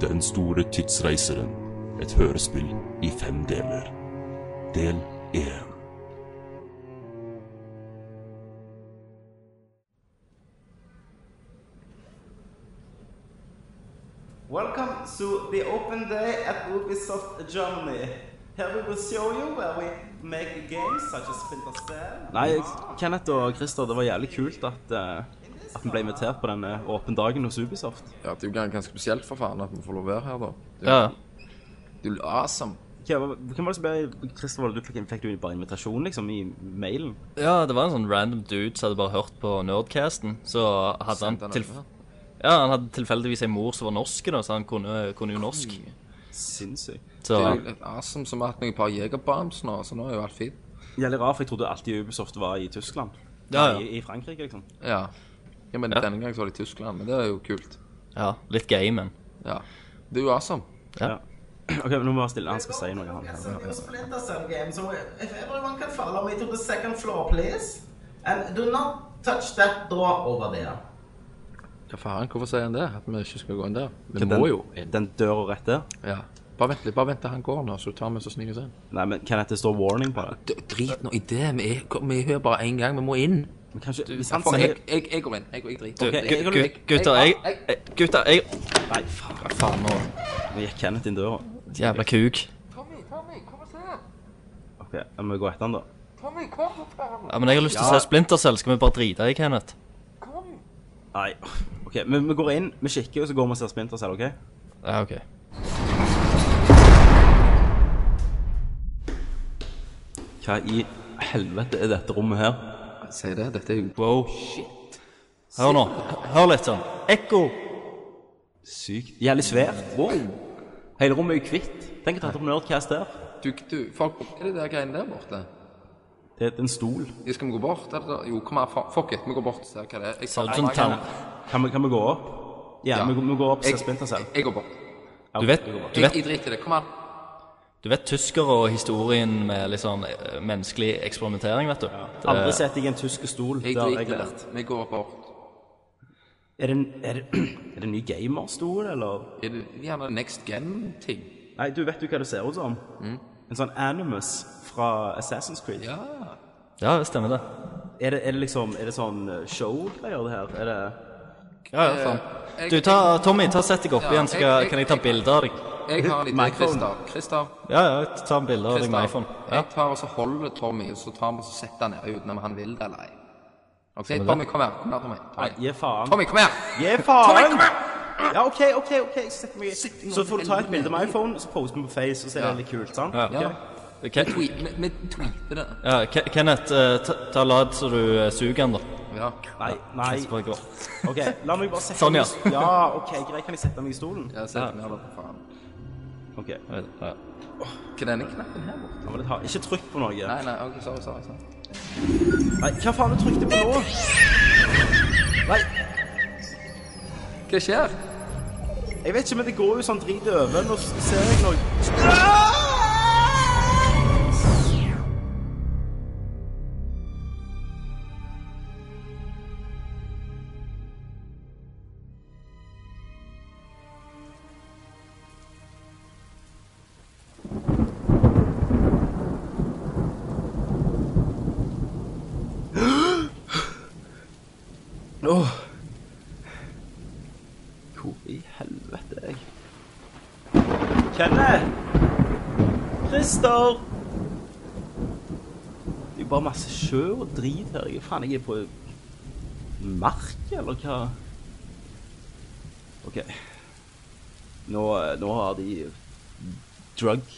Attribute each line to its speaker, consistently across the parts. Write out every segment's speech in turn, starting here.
Speaker 1: Den store tidsreiseren. Et hørespill i fem deler. Del én.
Speaker 2: Welcome to the open day at Ubisoft Germany. Here we will show you where we make games such as Splinter Cell.
Speaker 3: Nei, Kenneth og Christer, det var jævlig kult at, eh, at vi ble invitert på denne åpen dagen hos Ubisoft.
Speaker 4: Ja, det er jo gans- ganske spesielt for faen at vi får lov å være her, da. Det er jo-
Speaker 5: Ja.
Speaker 4: Det er jo awesome.
Speaker 3: Hva var- Hvem var det som ble Christer, var det du fikk, fikk du bare invitasjon liksom, i mailen?
Speaker 5: ja, det var en sånn random dude som hadde bare hørt på Nerdcasten. Så hadde han,
Speaker 4: Sendte han
Speaker 5: til,
Speaker 4: over.
Speaker 5: ja, han hadde tilfeldigvis ei mor som var norsk, da, så han kunne, kunne jo norsk.
Speaker 3: Sinnssykt.
Speaker 5: Så
Speaker 4: Det er jo litt awesome som har hatt meg et par jegerbombs nå, så nå er jo alt fint.
Speaker 3: Jævlig rart, for jeg trodde alltid Ubisoft var i Tyskland.
Speaker 5: Ja, ja.
Speaker 3: Nei, I, I Frankrike, liksom.
Speaker 4: Ja. ja men
Speaker 5: Ja.
Speaker 4: denne gangen så var det i Tyskland, men det er jo kult.
Speaker 5: ja, litt gamen.
Speaker 4: Ja. Det er jo awesome.
Speaker 3: Ok, men nå må jeg være stille. Han skal si noe, han.
Speaker 2: Yes, a new Altså, Splinter Cell game. So if everyone can follow me to the second floor, please. And do not touch that door over there.
Speaker 4: Hva faen, hvorfor sier han det? At vi ikke skal gå inn der? Vi
Speaker 3: Den-
Speaker 4: må jo inn.
Speaker 3: Den døra rett der.
Speaker 4: Ja. Bare vent litt, bare vent til han går nå, så tar vi oss og sniker oss inn.
Speaker 3: Nei, men Kenneth, det står warning på det.
Speaker 4: D- Drit nå i det, vi er, kom- vi er her bare én gang, vi må inn.
Speaker 3: Men kanskje, hvis han
Speaker 4: Fuck, jeg,
Speaker 3: sier...
Speaker 4: jeg, jeg går inn. Jeg, jeg driter.
Speaker 5: Du,
Speaker 3: Ok,
Speaker 5: gu-
Speaker 3: jeg-
Speaker 5: gu- gutter, jeg, jeg Gutter, jeg
Speaker 3: Nei, faen,
Speaker 5: Hva faen nå?
Speaker 3: nå gikk Kenneth inn døra.
Speaker 5: Jævla kuk.
Speaker 4: Tommy, Tommy, kom og se.
Speaker 3: Ok, jeg må gå etter han da.
Speaker 4: Tommy, kom for faen.
Speaker 5: Ja, men jeg har lyst til å se Splintercell. Skal vi bare drite i Kenneth?
Speaker 4: Kom.
Speaker 3: Nei, ok, men vi går inn, vi kikker, og så går vi og ser Splinter Cell, ok?
Speaker 5: Ja, OK.
Speaker 3: Hva i helvete er dette rommet her?
Speaker 4: Si det, dette er jo
Speaker 5: Wow. Hør nå. Hør litt sånn. Ekko.
Speaker 3: Sykt. Jævlig svært. Wow. Hele rommet er jo kvitt. Tenk å ta opp Nerdcast der.
Speaker 4: Du, du, folk, er det der greiene der borte?
Speaker 3: Det er en stol.
Speaker 4: Ja, Skal vi gå bort? Er det der? Jo, kom her, fa- fuck it, vi går bort og ser hva det er. Jeg
Speaker 5: Ser ut som tann...
Speaker 3: Kan vi, kan vi gå opp? Ja,
Speaker 4: Ja.
Speaker 3: Vi, vi går opp og ser
Speaker 4: Jeg-
Speaker 3: Splinter Cell.
Speaker 4: Jeg går bort.
Speaker 3: Ja,
Speaker 5: Du vet,
Speaker 3: vi går opp.
Speaker 5: du
Speaker 4: Jeg,
Speaker 5: vet
Speaker 4: jeg driter i det, kom her.
Speaker 5: Du vet tyskere og historien med litt sånn eh, menneskelig eksperimentering, vet du. Eh, Det-
Speaker 3: Aldri sett deg i en tysk stol.
Speaker 4: Jeg
Speaker 3: Det har
Speaker 4: driter i
Speaker 3: lært.
Speaker 4: det, vi går bort.
Speaker 3: Er det, en, er, det, er det en ny gamerstol, eller?
Speaker 4: Er det gjerne next gen-ting?
Speaker 3: Nei, du vet jo hva du ser ut som. En sånn Animus fra Assassin's
Speaker 4: Mm.
Speaker 3: Creed.
Speaker 4: Ja.
Speaker 5: Ja, det stemmer det.
Speaker 3: Er, det, er det liksom Er det sånn eh, show-greier, det her? Er det
Speaker 5: Ja, ja,
Speaker 4: jeg-
Speaker 5: faen. Du, ta, Tommy, ta sett deg opp
Speaker 4: Ja,
Speaker 5: igjen, så
Speaker 4: jeg-
Speaker 5: skal,
Speaker 4: jeg-
Speaker 5: kan jeg ta bilder av deg.
Speaker 4: Jeg har en idé,
Speaker 3: Michael.
Speaker 4: Kristav. Kristav,
Speaker 5: Ja, ja, jeg tar en bilde av deg med iPhone. Ja.
Speaker 4: Jeg tar og så holder Tommy, og så tar vi og så setter han ned uten om han vil det eller ei. Ok,
Speaker 5: det.
Speaker 4: Tommy, kom her. Kom her, Tommy.
Speaker 3: Nei, gi faen.
Speaker 4: Tommy, kom her!
Speaker 3: Gi
Speaker 4: Tommy,
Speaker 3: faen!
Speaker 4: kom her!
Speaker 3: Ja, OK, OK, ok, jeg setter meg i. Så får du ta et bilde med iPhone, så poster vi på Face, og så er det litt kult, sant?
Speaker 5: Ja.
Speaker 3: Ok.
Speaker 5: Ke-
Speaker 4: Tweet, vi, vi tweeter det.
Speaker 5: ja, Ke- Kenneth, eh, ta, ta lad så du eh, suger den, da.
Speaker 4: Ja.
Speaker 3: Nei, nei.
Speaker 5: Så bare gå.
Speaker 3: Ok, la meg bare sette
Speaker 5: Sånn,
Speaker 3: meg
Speaker 5: ja.
Speaker 3: i stolen. Ja, ok, greit. Kan jeg sette meg i stolen?
Speaker 4: Jeg setter ned da, for faen.
Speaker 3: Ok, det
Speaker 5: Ja.
Speaker 4: Hva er denne knappen her borte?
Speaker 3: var litt hard. Ikke trykk på noe. Nei,
Speaker 4: Nei, nei, ok, sorry, sorry, sorry.
Speaker 3: hva faen du trykte på nå? Nei,
Speaker 4: Hva skjer?
Speaker 3: jeg vet ikke, men det går jo sånn drit i øven, og så ser jeg noe. Åh. Hvor i helvete er jeg? Kenneth! Christer! Det er jo bare masse sjø og drit her. Jeg, faen, jeg er på mark, eller hva? OK. Nå, eh, nå har de drug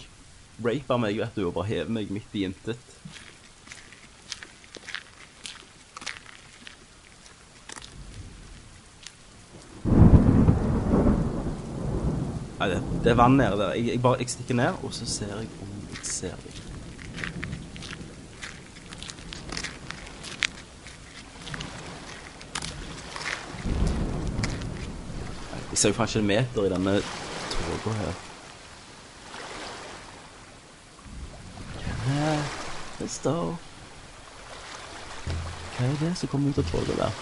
Speaker 3: rapa meg, vet du, og bare hevet meg midt i intet. Nei, det, det er vann nede der. Jeg, jeg bare jeg stikker ned, og så ser jeg om jeg ser det. Nei, Jeg ser jo faen ikke en meter i denne tåka her. Hva er det står? Hva er det som kommer ut av tåka der?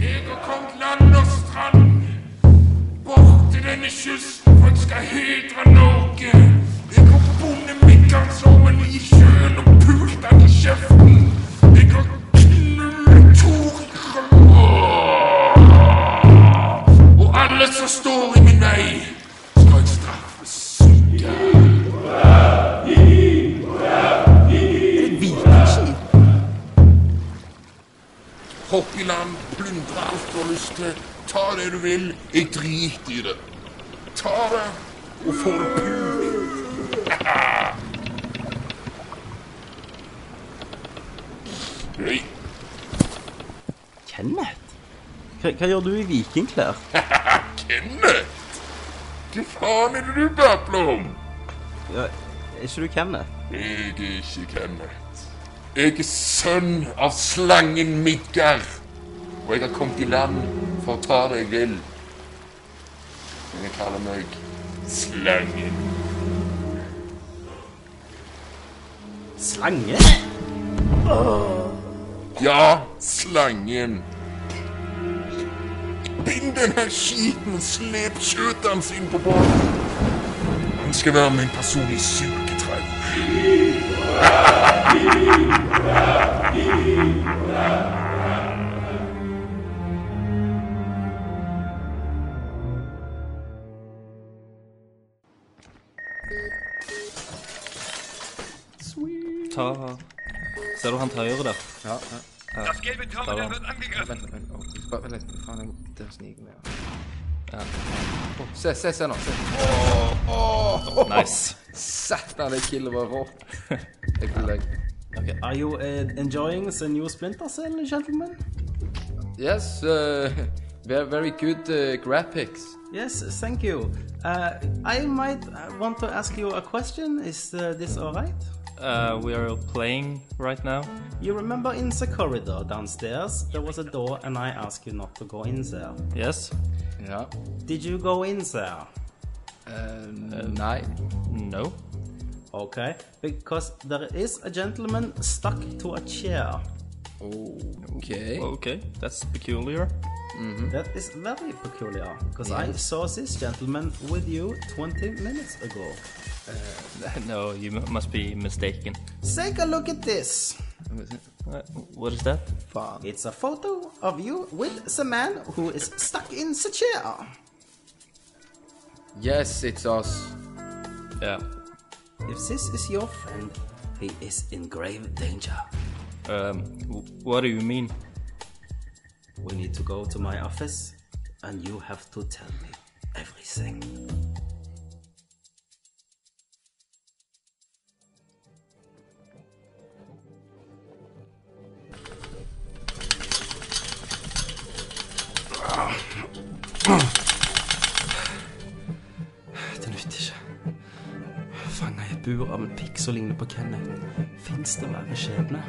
Speaker 4: Jeg og kong
Speaker 6: menneskes, for en skal hedre Norge. Jeg har bundet middagsovnen i sjøen og pult den i kjeften. Jeg har knullet Tor i røret. Og alle som står i min vei, skal jeg straffe syke. Hopp i land, plyndre alt du har lyst til. Ta det du vil. Jeg driter i det. Ta det, og få det pult. Hei.
Speaker 7: Kenneth? Hva, hva gjør du i vikingklær?
Speaker 6: Kenneth! Hva faen er det du babler om?
Speaker 7: Ja, er ikke du Kenneth?
Speaker 6: Jeg er ikke Kenneth. Jeg er sønn av slangen Midgar. Og jeg har kommet i land for å ta det jeg vil. Men jeg kaller meg Slangen.
Speaker 7: Slange?
Speaker 6: Ja, slangen. Bind den her skiten og slep kjøtet hans inn på båten. Han skal være min personlige sugetrau.
Speaker 5: Ta Ser du han til høyre der?
Speaker 4: Vent, vent, vent, vent, vent litt. Faen, jeg der sniker meg. Ja. Å, Se, se, se nå. Se.
Speaker 5: Nice.
Speaker 4: Satan, det killet var rått. Jeg vil deg.
Speaker 3: Are you uh, enjoying the new Splinter Cell, gentlemen?
Speaker 4: Yes, uh, ve- very good uh, graphics.
Speaker 3: Yes, thank you. Uh, I might uh, want to ask you a question. Is uh, this alright?
Speaker 5: Uh, we are playing right now.
Speaker 3: You remember in the corridor downstairs, there was a door, and I asked you not to go in there.
Speaker 5: Yes?
Speaker 4: Ja.
Speaker 3: Did you go in there?
Speaker 4: Eh, nei.
Speaker 5: No?
Speaker 3: Okay, because there is a gentleman stuck to a chair.
Speaker 4: OK.
Speaker 5: Okay, that's peculiar.
Speaker 3: That is very peculiar, because I saw this gentleman with you 20 minutes ago.
Speaker 5: No, you m- must be mistaken.
Speaker 3: Take a look at this.
Speaker 5: Uh, what is that?
Speaker 4: Faen.
Speaker 3: It's a photo of you with the man who is stuck in the chair.
Speaker 4: Yes, it's us.
Speaker 5: Yeah.
Speaker 3: If this is your friend, he is in grave danger.
Speaker 5: Um, w- what do you mean?
Speaker 3: We need to go to my office, and you have to tell me everything.
Speaker 7: Det nytter ikke. Fanga i et bur av en pikk som ligner på Kenneth. Fins det verre skjebne?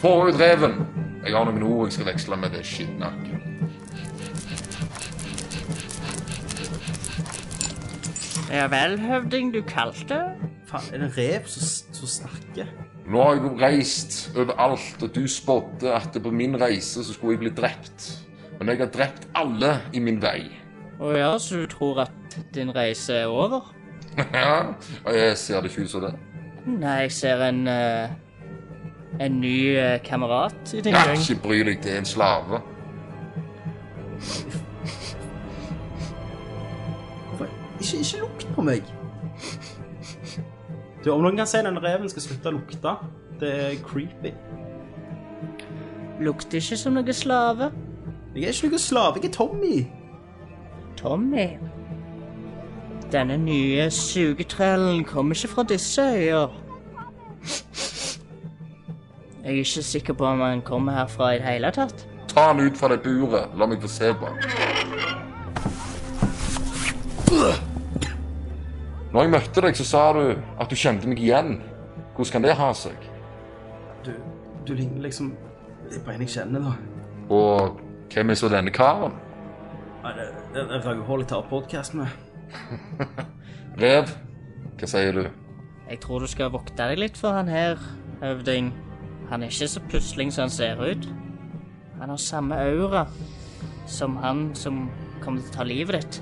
Speaker 6: Få ut reven. Jeg har noen ord jeg skal veksle med det skittnakket.
Speaker 8: Ja vel, høvding, du kalte?
Speaker 3: Faen, er det en rev som, som snakker?
Speaker 6: Nå har jeg jo reist overalt, og du spådde at på min reise så skulle jeg bli drept. Men jeg har drept alle i min vei.
Speaker 8: Å ja, så du tror at din reise er over?
Speaker 6: Ja, jeg ser det ikke ut som det.
Speaker 8: Nei, jeg ser en eh, En ny eh, kamerat i din
Speaker 6: Ja,
Speaker 8: gjeng.
Speaker 6: ikke bry deg, det er en slave.
Speaker 3: Hvorfor- Ikke, ikke lukt på meg! Du, Om noen kan si den reven skal slutte å lukte, det er creepy.
Speaker 8: Lukter ikke som noe slave.
Speaker 3: Jeg er ikke noen slave, jeg er Tommy!
Speaker 8: Tommy. Denne nye sugetrellen kommer ikke fra disse øyer. Jeg er ikke sikker på om han kommer herfra i det hele tatt.
Speaker 6: Ta han ut fra det buret. La meg få se på han. Når jeg møtte deg, så sa du at du kjente meg igjen. Hvordan kan det ha seg?
Speaker 7: Du, du ligner liksom Det er på en jeg kjenner, da.
Speaker 6: Og hvem er så denne karen?
Speaker 7: Nei, det, det, det er Ragnhild jeg tar podkast med.
Speaker 6: Rev, hva sier du?
Speaker 8: Jeg tror du skal vokte deg litt for han her, høvding. Han er ikke så pusling som han ser ut. Han har samme aura som han som kommer til å ta livet ditt.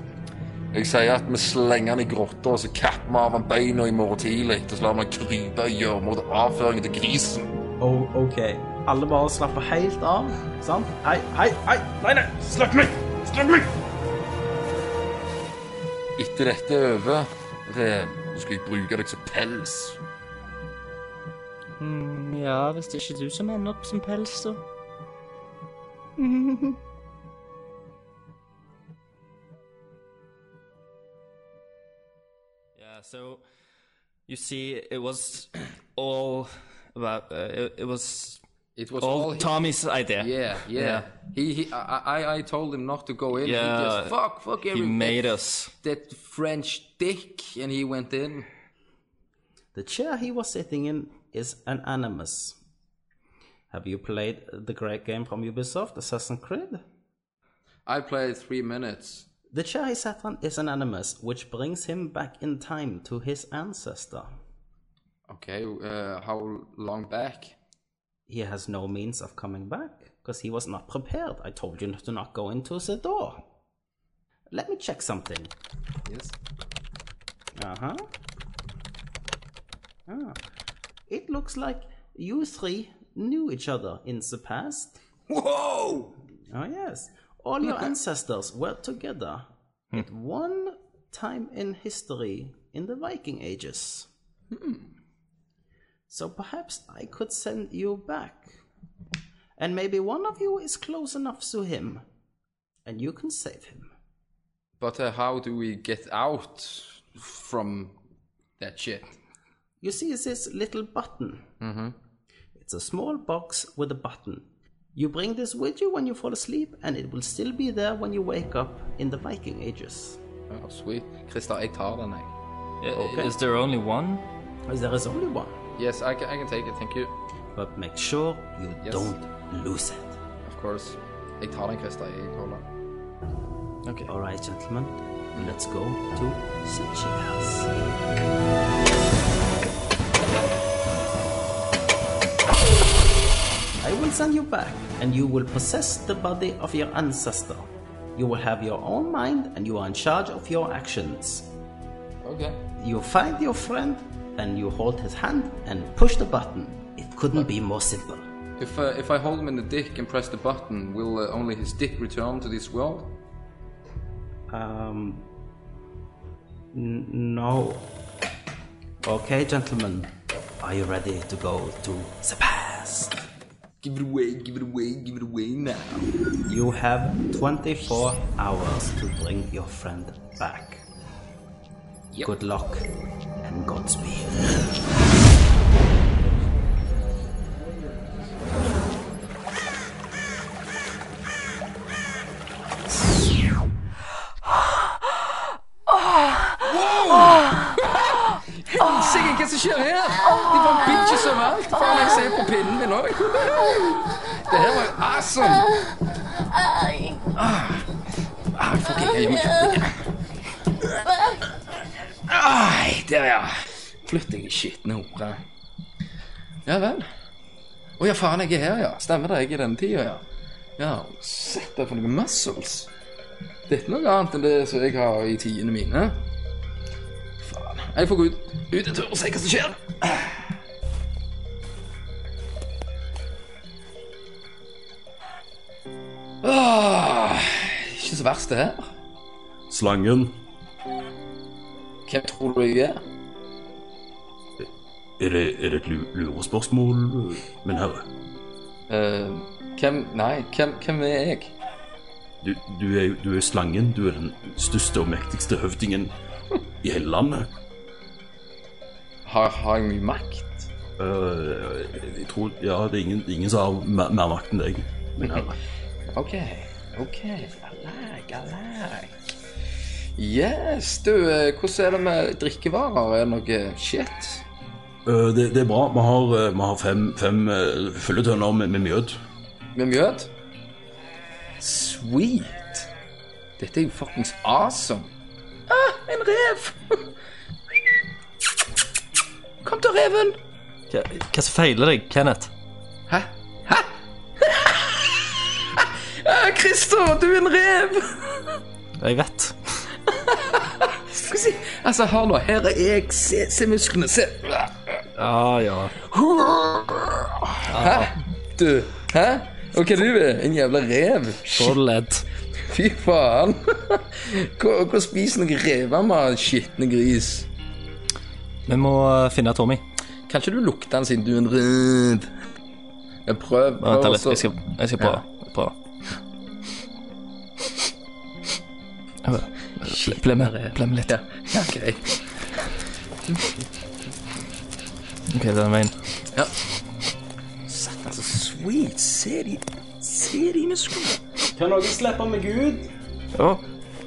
Speaker 6: Jeg sier at vi slenger han i grotta, og så kapper vi av han beina i morgen tidlig. Og så lar vi han krype i gjørma til avføringen til grisen.
Speaker 3: Oh, OK. Alle bare slapper helt av, sant? Hei, hei, hei! Nei, nei! Slapp meg! Slapp meg!
Speaker 6: Etter dette er over, rev, så skal jeg bruke deg som pels.
Speaker 8: Mm, ja, hvis det ikke er du som ender opp som pels, så
Speaker 5: Yeah, so you see, it was all about. Uh, it, it was
Speaker 4: It was all,
Speaker 5: all
Speaker 4: he-
Speaker 5: Tommy's idea.
Speaker 4: Yeah, yeah.
Speaker 5: Yeah.
Speaker 4: He, he I, I, I told him not to go in. he
Speaker 5: Yeah,
Speaker 4: just fuck, fuck
Speaker 5: He
Speaker 4: everything.
Speaker 5: made us.
Speaker 4: that French dick, and he went in.
Speaker 3: The chair he was sitting in is an animus. Have you played the great game from Ubisoft, Assassin's Creed?
Speaker 4: I played three minutes.
Speaker 3: The chair he sat on is an animus, which brings him back in time to his ancestor.
Speaker 4: Okay, uh, how long back?
Speaker 3: He has no means of coming back, because he was not prepared. I told you to not go into the door. Let me check something.
Speaker 4: Yes.
Speaker 3: Uh huh. Ah. It looks like you three knew each other in the past.
Speaker 4: Whoa!
Speaker 3: Oh, yes. All your ancestors were together at
Speaker 4: Hmm.
Speaker 3: one time in history in the Viking Ages. So perhaps I could send you back. And maybe one of you is close enough to him, and you can save him.
Speaker 4: But uh, how do we get out from that shit?
Speaker 3: You see this little button? It's a small box with a button. You bring this with you when you fall asleep, and it will still be there when you wake up in the Viking Ages.
Speaker 4: Oh, sweet. Krista, jeg tar den, jeg.
Speaker 5: I- Uh, Is there only one?
Speaker 3: There is only one.
Speaker 4: Yes, I can, I can take it, thank you.
Speaker 3: But make sure you
Speaker 4: Yes.
Speaker 3: don't lose it.
Speaker 4: Of course. Jeg tar den, Krista. Jeg holder den.
Speaker 3: Okay. All right, gentlemen, let's go to Sitchin's. I will send you back, and you will possess the body of your ancestor. You will have your own mind, and you are in charge of your actions.
Speaker 4: Okay.
Speaker 3: You find your friend, and you hold his hand and push the button. It couldn't be more simple.
Speaker 4: If, uh, if I hold him in the dick and press the button, will uh, only his dick return to this world?
Speaker 3: Um. N- no. Okay, gentlemen. Are you ready to go to the past?
Speaker 4: Give it away, give it away, give it away now.
Speaker 3: You have 24 hours to bring your friend back.
Speaker 4: Yep.
Speaker 3: Good luck and Godspeed.
Speaker 4: Sikkert hva som skjer her? De bare bitches overalt. Faen, jeg ser på pinnen min òg. Det her var jo awesome. Ah, ah, fuck, jeg er hjemme. Ai, der, ja. Flytt deg, skitne hore. Ja vel. Å ja, faen, jeg er her, ja. Stemmer det, jeg er i denne tida, ja. Ja, Sett deg for noen muscles. Dette er noe annet enn det som jeg har i tidene mine. Faen. Jeg får gå ut, ut en tur og se hva som skjer. Ah, ikke så verst, det her.
Speaker 1: Slangen,
Speaker 4: Hvem tror du jeg er?
Speaker 1: er det, er det et lu- lurespørsmål, min herre?
Speaker 4: Eh, hvem Nei, hvem, hvem er jeg?
Speaker 1: Du, du, er, jo- du er jo slangen, du er den største og mektigste høvdingen i hele landet.
Speaker 4: Har, har jeg mye makt?
Speaker 1: Øh, jeg tror, ja, det er ingen, ingen som har mer, mer makt enn deg, min herre.
Speaker 4: OK. OK. Galag, galag. Yes, du, eh, hvordan er det med drikkevarer? Er det noe shit?
Speaker 1: Øh, det, det er bra. Vi har, øh, vi har fem, fem øh, fylletønner med, med mjød.
Speaker 4: Med mjød? Sweet. Dette er jo fuckings awesome. Ah, en rev! Kom til reven!
Speaker 5: Hva hva som feiler deg, Kenneth?
Speaker 4: Hæ? Hæ? «Ah, Christer, du er en rev!
Speaker 5: Jeg vet.
Speaker 4: Skal vi si Altså, her nå. Her er jeg. Se, se musklene. Se. Ah,
Speaker 5: Ja, ja.
Speaker 4: Hæ? Du. Hæ? Og hva er du er? En jævla rev?
Speaker 5: På ledd.
Speaker 4: Fy faen. Hva hva spiser noen rever med skitne gris?
Speaker 5: Vi må eh, finne Tommy.
Speaker 4: Kanskje du lukter den siden du er en rev? Jeg prøv.
Speaker 5: Vent
Speaker 4: prøv
Speaker 5: litt.
Speaker 4: også.
Speaker 5: Jeg skal, jeg skal prøve. prøve. Jeg vet. Ble- Ble med, ble med litt.
Speaker 4: Ja, ja greit.
Speaker 5: Ok, den veien.
Speaker 4: Ja. Satan, så sweet. Se de, se de musklene.
Speaker 3: Kan noen slippe meg ut?
Speaker 5: Å,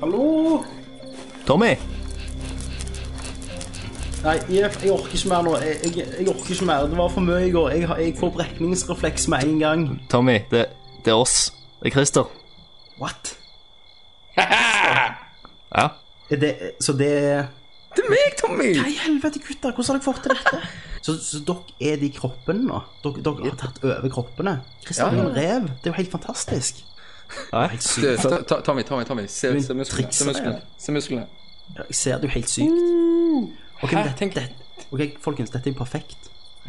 Speaker 3: Hallo?
Speaker 5: Tommy!
Speaker 3: Nei, Jeff, jeg orker ikke mer nå. Jeg, jeg, jeg orker ikke mer. Det var for mye i går. Jeg, har- jeg får brekningsrefleks med en gang.
Speaker 5: Tommy, det, det er oss. Det er Christer.
Speaker 3: What?
Speaker 5: Ja.
Speaker 3: Er det, så det er
Speaker 4: Det er meg, Tommy.
Speaker 3: Hva i helvete, gutter? Hvordan har dere fått til dette? Så, så dere er de kroppene nå? Dere, dere har tatt over kroppene? Kristian er
Speaker 4: Ja,
Speaker 3: en rev. Det er jo helt fantastisk.
Speaker 5: Nei.
Speaker 4: Du, ta- ta- Tommy, Tommy, Tommy. Se,
Speaker 3: Du
Speaker 4: se musklene.
Speaker 3: trikser
Speaker 4: Se
Speaker 3: det,
Speaker 4: musklene. Se musklene.
Speaker 3: Ja, Jeg ser det jo helt sykt. Ok,
Speaker 4: Hæ?
Speaker 3: men dette,
Speaker 4: Tenk-
Speaker 3: dette, ok, folkens, dette er jo perfekt.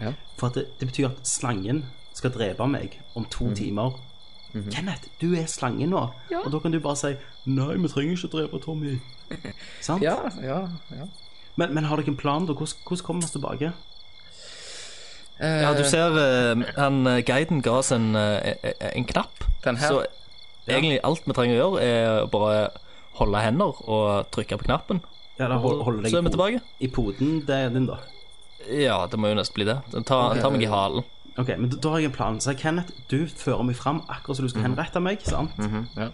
Speaker 4: Ja.
Speaker 3: For at det, det betyr at slangen skal drepe meg om to
Speaker 5: Mhm.
Speaker 3: timer. Kenneth, du er slangen nå. Og da kan du bare si 'Nei, vi trenger ikke drepe Tommy'. Sant?
Speaker 4: Ja, ja, ja.
Speaker 3: Men, men har dere en plan, da? Hvordan, hvordan kommer vi oss tilbake?
Speaker 5: Ja, du ser eh, han, eh, guiden ga oss en, eh, eh, en knapp.
Speaker 4: Den her?
Speaker 5: Så egentlig alt vi trenger å gjøre, er å bare holde hender og trykke på knappen.
Speaker 3: Ja, da hold, holder deg
Speaker 5: Så
Speaker 3: i
Speaker 5: er vi
Speaker 3: po-
Speaker 5: tilbake.
Speaker 3: i poden. Det er din, da.
Speaker 5: Ja, det må jo nesten bli det. Ta, ta meg i halen.
Speaker 3: Ok, men da, da har jeg en plan. Så Kenneth, du fører meg fram akkurat som du skal henrette meg, sant?
Speaker 4: Mhm. ja.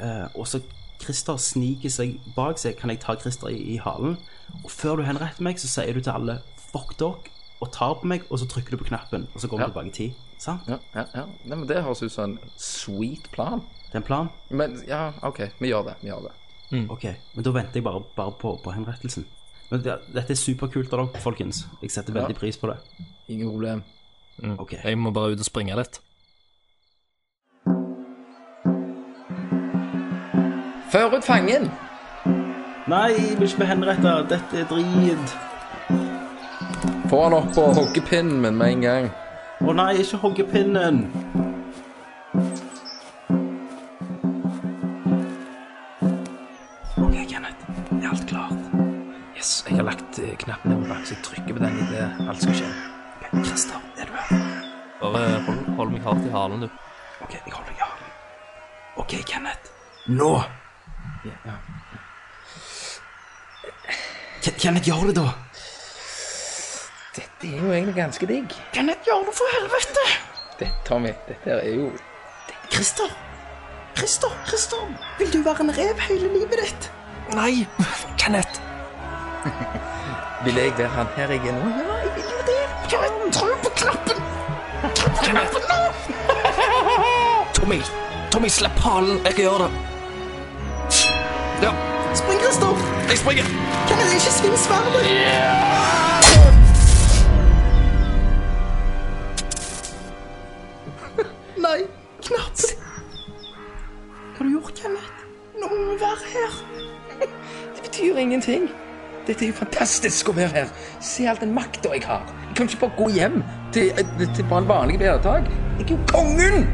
Speaker 3: Eh, og så Christer sniker seg bak seg. Kan jeg ta Christer i, i halen? Og før du henretter meg, så sier du til alle 'fuck dere' og tar på meg, og så trykker du på knappen, og så går vi
Speaker 4: Ja.
Speaker 3: tilbake i tid. Sant?
Speaker 4: Ja, ja, ja. Nei, men det høres ut som en sweet plan.
Speaker 3: Det er en plan?
Speaker 4: Men ja, OK, vi gjør det. Vi gjør det.
Speaker 3: Ok, men da venter jeg bare, bare på, på henrettelsen. Men det, dette er superkult av dere, folkens. Jeg setter veldig pris på det.
Speaker 4: Ingen problem. Mm.
Speaker 3: Ok.
Speaker 5: Jeg må bare ut og springe litt.
Speaker 4: Før ut fangen!
Speaker 3: Nei, jeg vil ikke bli henretta. Dette er drit.
Speaker 4: Få han opp på hoggepinnen min med en gang.
Speaker 3: Å nei, ikke hogge pinnen.
Speaker 4: OK, Kenneth. Er alt klart? Yes, jeg har lagt eh, knappen på bak, så jeg trykker på den idet alt skal skje. eh, Christer, er du her?
Speaker 5: Bare hold, hold meg hardt i halen, du.
Speaker 4: OK, jeg holder ja. OK, Kenneth.
Speaker 3: Nå!
Speaker 4: Ja.
Speaker 3: Ken- Kenneth, gjør det, da.
Speaker 4: Dette er jo egentlig ganske digg.
Speaker 3: Kenneth, gjør det, for helvete!
Speaker 4: Det, Tommy, dette her er jo
Speaker 3: Christer! Christer! Christer! Vil du være en rev hele livet ditt?
Speaker 5: Nei! Kenneth!
Speaker 4: Vil jeg være han her jeg er nå? Ja, jeg vil jo det.
Speaker 5: Tommy! Tommy, slipp halen! Jeg kan gjøre det. Ja.
Speaker 3: Spring, Christer!
Speaker 5: Jeg springer!
Speaker 3: Kenneth, ikke svinn sverdet! Nei, knapt. Hva har du gjort, Kenneth? Nå må vi være her.
Speaker 4: Det betyr ingenting. Dette er jo fantastisk å være her. Se all den makta jeg har. Jeg kan ikke bare gå hjem til, eh, til bare en vanlig hverdag. Jeg er jo kongen!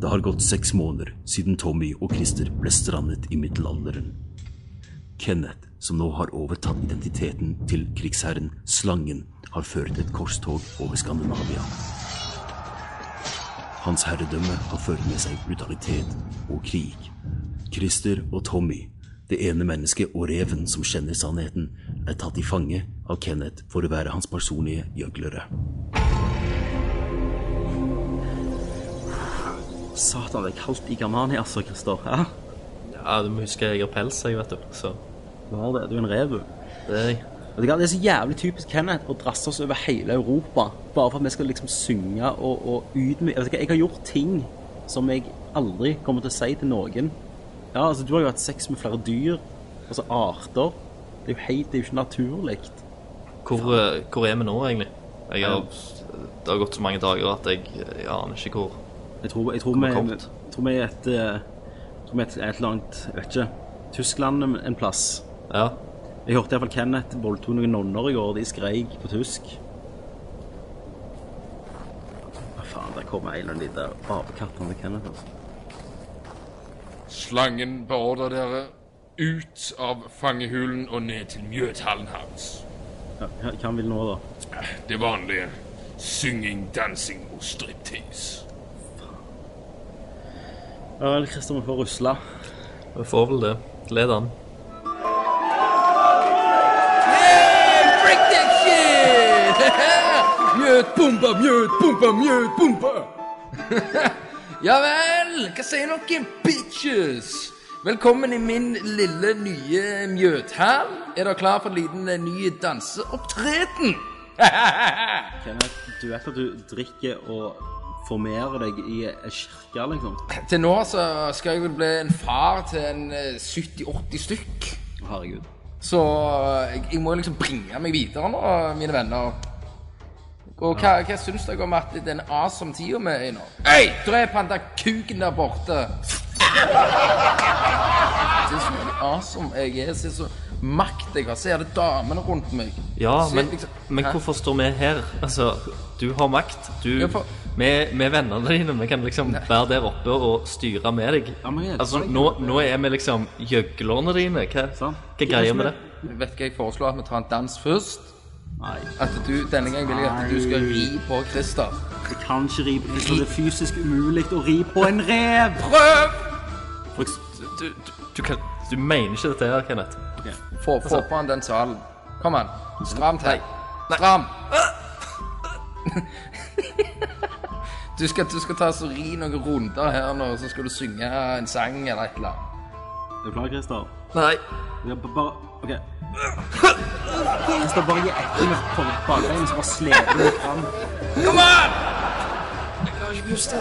Speaker 1: Det har gått seks måneder siden Tommy og Christer ble strandet i middelalderen. Kenneth, som nå har overtatt identiteten til krigsherren Slangen, har ført et korstog over Skandinavia. Hans herredømme har ført med seg brutalitet og krig. Christer og Tommy, det ene mennesket og reven som kjenner sannheten, er tatt i fange av Kenneth for å være hans personlige gjøglere.
Speaker 3: Satan, det er kaldt i Germania, altså, Christer. Ja,
Speaker 5: Ja, du må huske jeg har pels, jeg, vet du. Så
Speaker 3: du har det. Du er en rev, du.
Speaker 5: det er jeg.
Speaker 3: Vet du hva, Det er så jævlig typisk Kenneth å drasse oss over hele Europa bare for at vi skal liksom synge og, og utmyke Vet du hva, jeg har gjort ting som jeg aldri kommer til å si til noen. Ja, altså, du har jo hatt sex med flere dyr. Altså arter. Det er jo helt, det er jo ikke naturlig.
Speaker 5: Hvor, eh, hvor er vi nå, egentlig? Jeg har, det har gått så mange dager at jeg, jeg aner ikke hvor.
Speaker 3: Jeg tror, jeg tror, vi,
Speaker 5: Kommer
Speaker 3: jeg
Speaker 5: kort.
Speaker 3: tror vi er et, eh, jeg tror vi er et, et langt, jeg vet ikke, Tyskland en en plass.
Speaker 5: Ja.
Speaker 3: Jeg hørte iallfall Kenneth voldtok noen nonner i går, de skreik på tysk. Hva faen, der kommer en eller annen liten apekatt til Kenneth, altså.
Speaker 6: Slangen beordrer dere ut av fangehulen og ned til mjødhallen hans.
Speaker 3: Ja, hva hva han vil nå, da?
Speaker 6: Det vanlige. Synging, dansing og striptease.
Speaker 3: Ja vel, Christer, vi får rusle.
Speaker 5: Vi får vel det. Led an.
Speaker 4: Break that shit! Mjøtpumpa, mjøtpumpa, mjøtpumpa! ja vel, hva sier dere, bitches? Velkommen i min lille nye mjøthall. Er dere klar for en liten eh, ny danseopptreden?
Speaker 3: Kenneth, du vet at du drikker og formerer deg i ei kirke, liksom?
Speaker 4: til nå så skal jeg vel bli en far til en eh, 70-80 stykk.
Speaker 3: Herregud.
Speaker 4: Så eh, jeg, jeg må liksom bringe meg videre nå, mine venner. Og hva, hva syns dere om at den awesome tida vi er i nå? Hei! Drep han der kuken der borte! Se så jævlig awesome jeg er. Se så makt jeg har. Se alle damene rundt meg.
Speaker 5: Ja,
Speaker 4: Se
Speaker 5: men,
Speaker 4: liksom-
Speaker 5: men
Speaker 4: Hæ?
Speaker 5: hvorfor står vi her? Altså, du har makt. Du
Speaker 4: Ja, for-
Speaker 5: Vi vi er vennene dine. Vi kan liksom være der oppe og styre med deg.
Speaker 3: Ja, men jeg-
Speaker 5: Altså, nå, nå er vi liksom gjøglerne dine. Hva,
Speaker 3: Sant.
Speaker 5: hva greier med det?
Speaker 4: Vet du hva jeg foreslår? At vi tar en dans først.
Speaker 3: Nei,
Speaker 4: At du, Denne gangen vil jeg at du skal ri på Christer.
Speaker 3: jeg kan ikke ri på Christer. Det er fysisk umulig å ri på en rev!
Speaker 4: Prøv!
Speaker 5: Du, du, du, du, kan, du mener ikke dette her, Kenneth?
Speaker 4: Få, få på han den salen. Kom an. Stram til. Stram. Du skal, du skal ta så ri noen runder her nå, så skal du synge en sang eller et eller annet.
Speaker 3: Er du klar, Christer?
Speaker 5: Nei.
Speaker 3: Ja, ba- bare OK. Christer, bare gi etter med for- bakbeina, så bare sleper du deg fram.
Speaker 4: Kom an! Pusten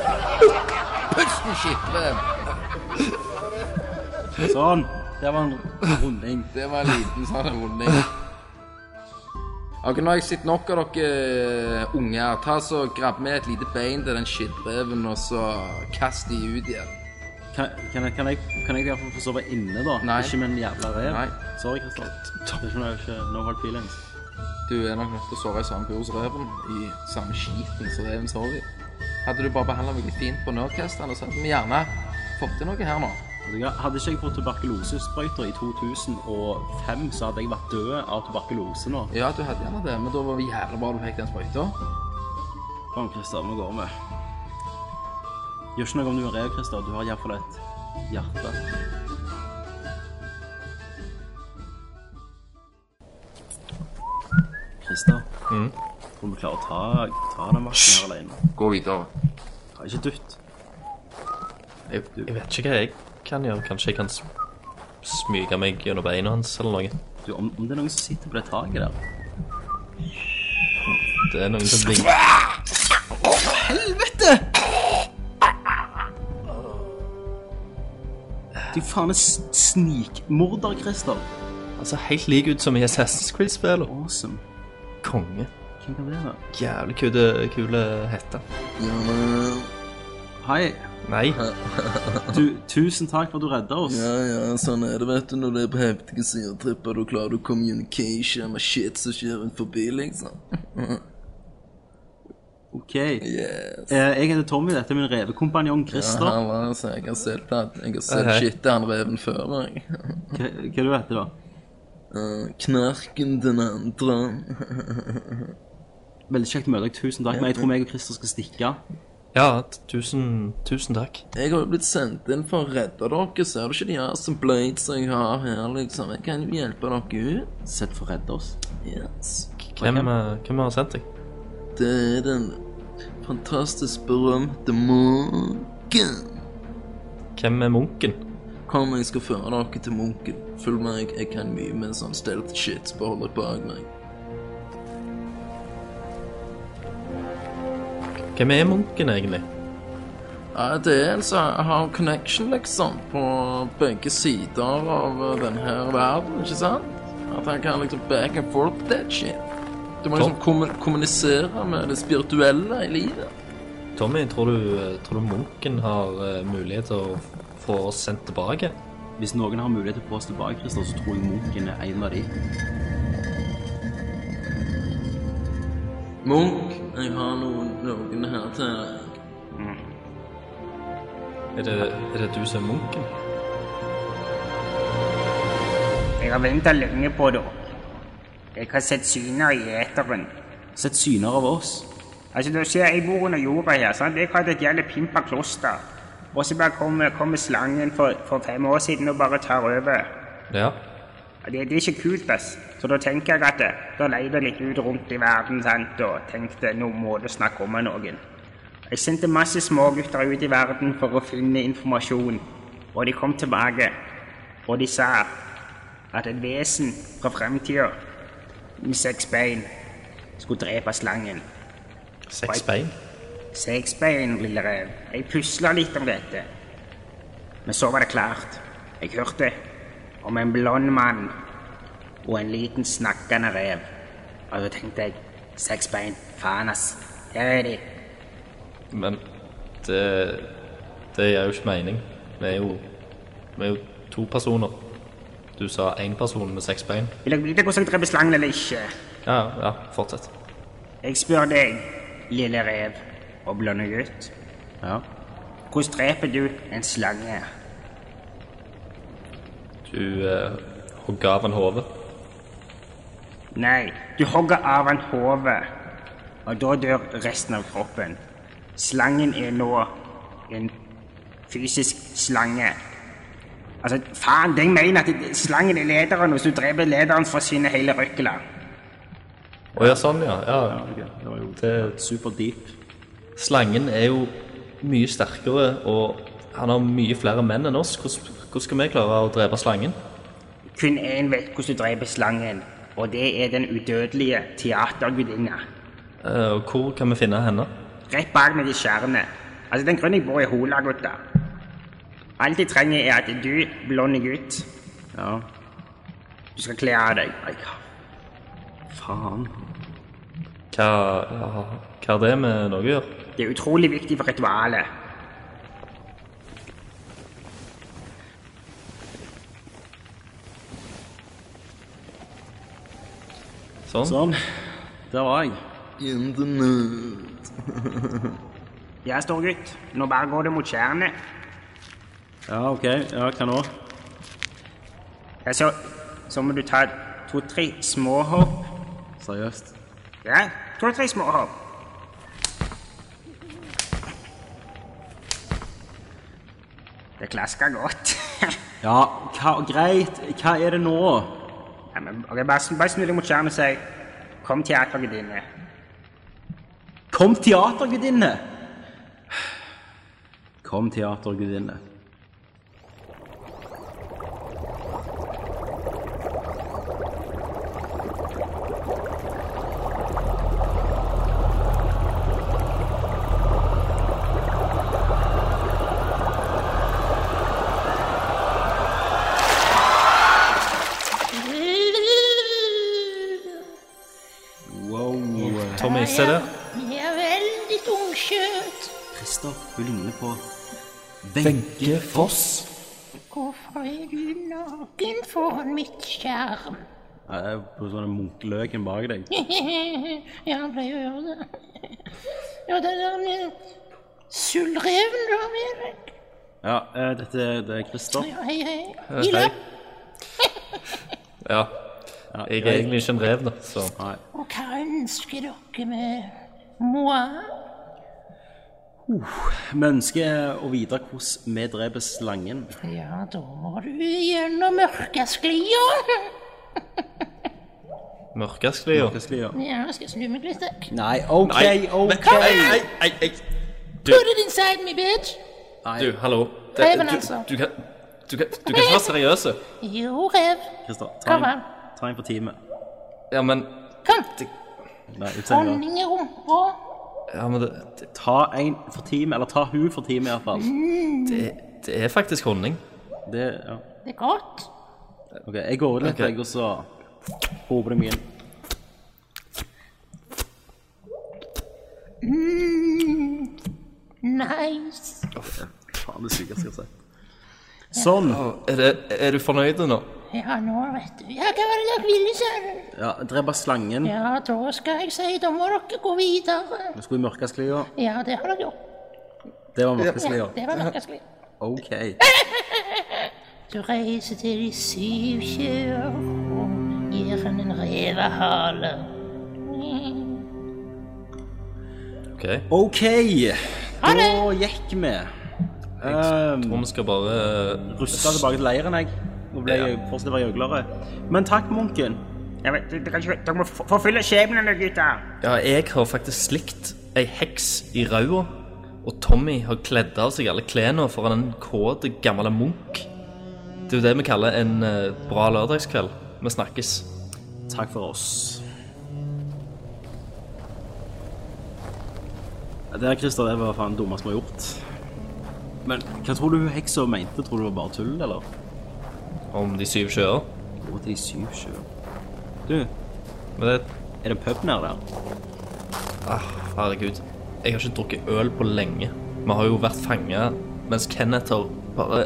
Speaker 4: skitne.
Speaker 3: Sånn. Det var en runding.
Speaker 4: Det var en liten sånn runding. Ok, Nå har jeg sett nok av dere unger. Ta så Grabb med et lite bein til den skittreven, og så kast de ut igjen.
Speaker 3: Kan, kan, jeg, kan, jeg, kan jeg i hvert fall få sove inne, da?
Speaker 4: Nei.
Speaker 3: Ikke med en jævla rev?
Speaker 4: Nei.
Speaker 3: Sorry, Christer. Det er ikke noe ikke no hard feelings.
Speaker 4: Du er nok nødt til å sove i samme bur som reven. I samme skiten som reven sover i. Hadde du bare behandla meg litt fint på Nerdcasteren, så hadde vi gjerne fått til noe her nå.
Speaker 3: Vet du hva? Hadde ikke jeg fått tuberkulosesprøyter i 2005, så hadde jeg vært død av tuberkulose nå.
Speaker 4: Ja, du hadde gjerne det, men da var det jævlig bra du fikk den sprøyta.
Speaker 3: Kom, Christer, vi går med. Gjør ikke noe om du er rev, Christer. Du har iallfall et hjerte. Christer, tror du vi klarer å ta, ta den vasken her alene?
Speaker 6: Gå videre.
Speaker 3: Ta ikke dytt.
Speaker 5: Jeg, jeg vet ikke hva jeg kan gjøre. Kanskje jeg kan sm- smyge meg gjennom beina hans eller noe.
Speaker 3: Du, om, om det er noen som sitter på det taket der
Speaker 5: Det er noen som vinker.
Speaker 3: Du faen er s- snikmorder, Christer.
Speaker 5: Altså, helt lik ut som i Assassin's Creed-spillet.
Speaker 3: Awesome.
Speaker 5: Konge.
Speaker 3: Hvem kan det være?
Speaker 5: Jævlig kule, kule hette.
Speaker 3: Hei.
Speaker 5: Nei.
Speaker 3: Du, tusen takk for at du redda oss.
Speaker 4: ja, sånn er det, vet du. Når du er på heftige sidetripper, da klarer du communication med shit som skjer rundt forbi, liksom.
Speaker 3: OK. Eh, Jeg heter Tommy. Dette er min revekompanjong Christer. Hva,
Speaker 4: jeg har sett at Jeg har
Speaker 5: Hei, hei.
Speaker 4: shit til han reven før, jeg.
Speaker 3: hva du heter du, da?
Speaker 4: Knarken den andre.
Speaker 3: Veldig kjekt å møte deg. Tusen takk. Men jeg tror meg og Christer skal stikke.
Speaker 5: Ja, t- tusen, tusen takk.
Speaker 4: Jeg har jo blitt sendt inn for å redde dere. Ser du ikke de awesome blades jeg har her, liksom? Jeg kan jo hjelpe dere ut.
Speaker 3: Sett for å redde oss.
Speaker 4: Yes.
Speaker 5: Hvem, eh, hvem har sendt deg?
Speaker 4: Det er den fantastisk berømte munken.
Speaker 5: Hvem er munken?
Speaker 4: Kom, jeg skal føre dere til munken. Følg meg, jeg kan mye med sånn stealth shit. Bare hold dere bak meg.
Speaker 5: Hvem er munken, egentlig?
Speaker 4: Ja, det er en som har connection, liksom, på begge sider av eh, denne her verden, ikke sant? At han kan liksom back and forth that shit. Du må liksom kommu- kommunisere med det spirituelle i livet.
Speaker 5: Tommy, tror du, tror du munken har eh, mulighet til å få oss sendt tilbake?
Speaker 3: Hvis noen har mulighet til å få oss tilbake, Christer, så tror jeg Munken er en av de.
Speaker 4: Munch, jeg har noen, noen her til deg.
Speaker 5: Er det, er det du som er munken?
Speaker 9: Jeg har venta lenge på dere. Jeg har sett syner i eteren.
Speaker 3: Sett syner av oss.
Speaker 9: Altså, du ser, jeg bor under jorda her. sant? Jeg hadde et jævlig pimpa kloster. Og så bare kommer kommer slangen for, for fem år siden og bare tar over.
Speaker 5: Ja.
Speaker 9: Og Det, det er ikke kult, ass. Så da tenker jeg at eh, da leide jeg litt ut rundt i verden sant? og tenkte nå må du snakke om med noen. Jeg sendte masse smågutter ut i verden for å finne informasjon, og de kom tilbake. Og de sa at et vesen fra fremtida med seks bein skulle drepe slangen.
Speaker 5: Seks bein?
Speaker 9: Seks bein, lille rev. Jeg pusla litt om dette. Men så var det klart. Jeg hørte om en blond mann og en liten snakkende rev. Og da tenkte jeg seks bein, faen ass, der er de.
Speaker 5: Men det Det gir jo ikke mening. Vi er jo Vi er jo to personer. Du sa én person med seks bein.
Speaker 9: Vil dere vite hvordan jeg dreper slangen eller ikke?
Speaker 5: Ja, ja, fortsett.
Speaker 9: Jeg spør deg, lille rev og blonde gutt.
Speaker 3: Ja.
Speaker 9: Hvordan dreper du en slange?
Speaker 5: Du eh, hogg av en hode.
Speaker 9: Nei, du hogger av en hode, og da dør resten av kroppen. Slangen er nå en fysisk slange. Altså, faen, jeg mener at slangen er lederen, og hvis du dreper lederen, forsvinner hele røkla.
Speaker 5: Å ja, sånn, ja. ja.
Speaker 3: Det var jo
Speaker 5: Det,
Speaker 3: super deep.
Speaker 5: slangen er jo mye sterkere, og han har mye flere menn enn oss. Hvordan, hvordan skal vi klare å drepe slangen?
Speaker 9: Kun én vet hvordan du dreper slangen, og det er den udødelige teatergudinna.
Speaker 5: Eh, og hvor kan vi finne henne?
Speaker 9: Rett bak meg i skjærene. Altså, den grunnen jeg bor i Hola, gutta. Alt jeg trenger er at du, blonde gutt,
Speaker 3: Ja.
Speaker 9: du skal kle av deg. Oi,
Speaker 3: Faen.
Speaker 5: Hva, ja, hva har det med noe å gjøre?
Speaker 9: Det er utrolig viktig for ritualet.
Speaker 5: Sånn.
Speaker 3: Sånn. Der var jeg.
Speaker 9: Ja, stor gutt. Nå bare går det mot skjærene.
Speaker 3: Ja, OK. Ja, hva nå?
Speaker 9: Ja, så, så må du ta to-tre små hopp.
Speaker 3: Seriøst.
Speaker 9: Ja, to-tre små hopp. Det klasker godt.
Speaker 3: Ja, hva, greit. Hva er det nå?
Speaker 9: ja, men, ok, bare, sn- bare snu deg mot skjermen og si Kom teatergudinne.
Speaker 3: Kom, teatergudinne! Kom, teatergudinne.
Speaker 5: Tommy, se det.
Speaker 10: Jeg er veldig tungkjøtt.
Speaker 3: Christer, hun ligner på
Speaker 1: Wenche Foss.
Speaker 10: Hvorfor er du naken foran mitt skjerm?
Speaker 3: Eh, På sånne munkeløken bak deg.
Speaker 10: ja, han pleier å gjøre det. Ja, den der med sølvreven du har med deg.
Speaker 3: Ja, eh, dette er- det er Christer.
Speaker 10: Ja, hei, hei.
Speaker 5: Hei.
Speaker 10: Ila.
Speaker 5: Ja.
Speaker 3: Ja,
Speaker 5: Jeg er egentlig ikke en rev, da, så
Speaker 3: Nei.
Speaker 10: Og hva ønsker dere med moi?
Speaker 3: Vi ønsker å vite hvordan vi dreper slangen.
Speaker 10: Ja, da må du gjennom mørkesklia.
Speaker 5: Mørkesklia.
Speaker 3: Hva skal vi gjøre?
Speaker 10: Ja, skal jeg snu meg litt? jeg?
Speaker 3: Nei, OK, OK!
Speaker 10: Kom igjen!
Speaker 5: nei, nei.
Speaker 10: Put it inside me, bitch!
Speaker 5: Du, hallo. Det,
Speaker 10: Reven,
Speaker 5: du,
Speaker 10: altså.
Speaker 5: du, kan, du, kan, du kan ikke være seriøse.
Speaker 10: Jo, rev.
Speaker 3: Christer, ta
Speaker 10: Kom
Speaker 3: en,
Speaker 10: an.
Speaker 3: ta en på teamet.
Speaker 5: Ja, men
Speaker 10: Kom.
Speaker 3: Nei, utsend
Speaker 10: Honning i rumpa.
Speaker 5: Ja, men det,
Speaker 3: Ta en for team, eller ta hun for team i hvert fall.
Speaker 5: det, det er faktisk honning.
Speaker 3: Det, ja.
Speaker 10: Det er godt.
Speaker 3: Ok, jeg går ut litt,
Speaker 5: Ok.
Speaker 3: jeg, og så håper det mye inn.
Speaker 10: Nice.
Speaker 3: Faen, det sykeste jeg har sett. Sånn.
Speaker 5: Er, det, er du fornøyd nå?
Speaker 10: Ja, nå vet du. Ja, hva var det dere ville, sa du?
Speaker 3: Ja, drepe slangen.
Speaker 10: Ja, da skal jeg si, da må dere gå videre.
Speaker 3: Vi skulle i mørkesklia.
Speaker 10: Ja, det har dere gjort.
Speaker 3: Det var
Speaker 10: Ja,
Speaker 3: mørkesklia.
Speaker 10: det var merkelig.
Speaker 3: OK.
Speaker 10: Du reiser til de syv kjør og gir henne en revehale.
Speaker 5: OK. Jeg
Speaker 3: OK!
Speaker 10: Ha det!
Speaker 3: Da gikk vi. Um,
Speaker 5: tror vi skal bare eh,
Speaker 3: Rusta tilbake til leiren, jeg. Nå ble jeg fortsatt å være gjøglere. Men takk, munken.
Speaker 9: Jeg vet, dere, kan ikke, dere må f- forfølge skjebnene, gutter.
Speaker 5: Ja, jeg har faktisk slikt ei heks i ræva. Og Tommy har kledd av seg alle klærne foran en kåt gammel munk. Det er jo det vi kaller en eh, bra lørdagskveld. Vi snakkes.
Speaker 3: Takk for oss. Ja, Det her, Christer, det var faen det dummeste vi har gjort. Men hva tror du hun heksa mente? Tror du det var bare tull, eller?
Speaker 5: Om de syv sjøer.
Speaker 3: Gå til de syv sjøer. Du, er
Speaker 5: Men det Ah,
Speaker 3: det en pub nede der?
Speaker 5: Herregud. Jeg har ikke drukket øl på lenge. Vi har jo vært fanga mens Kenneth har bare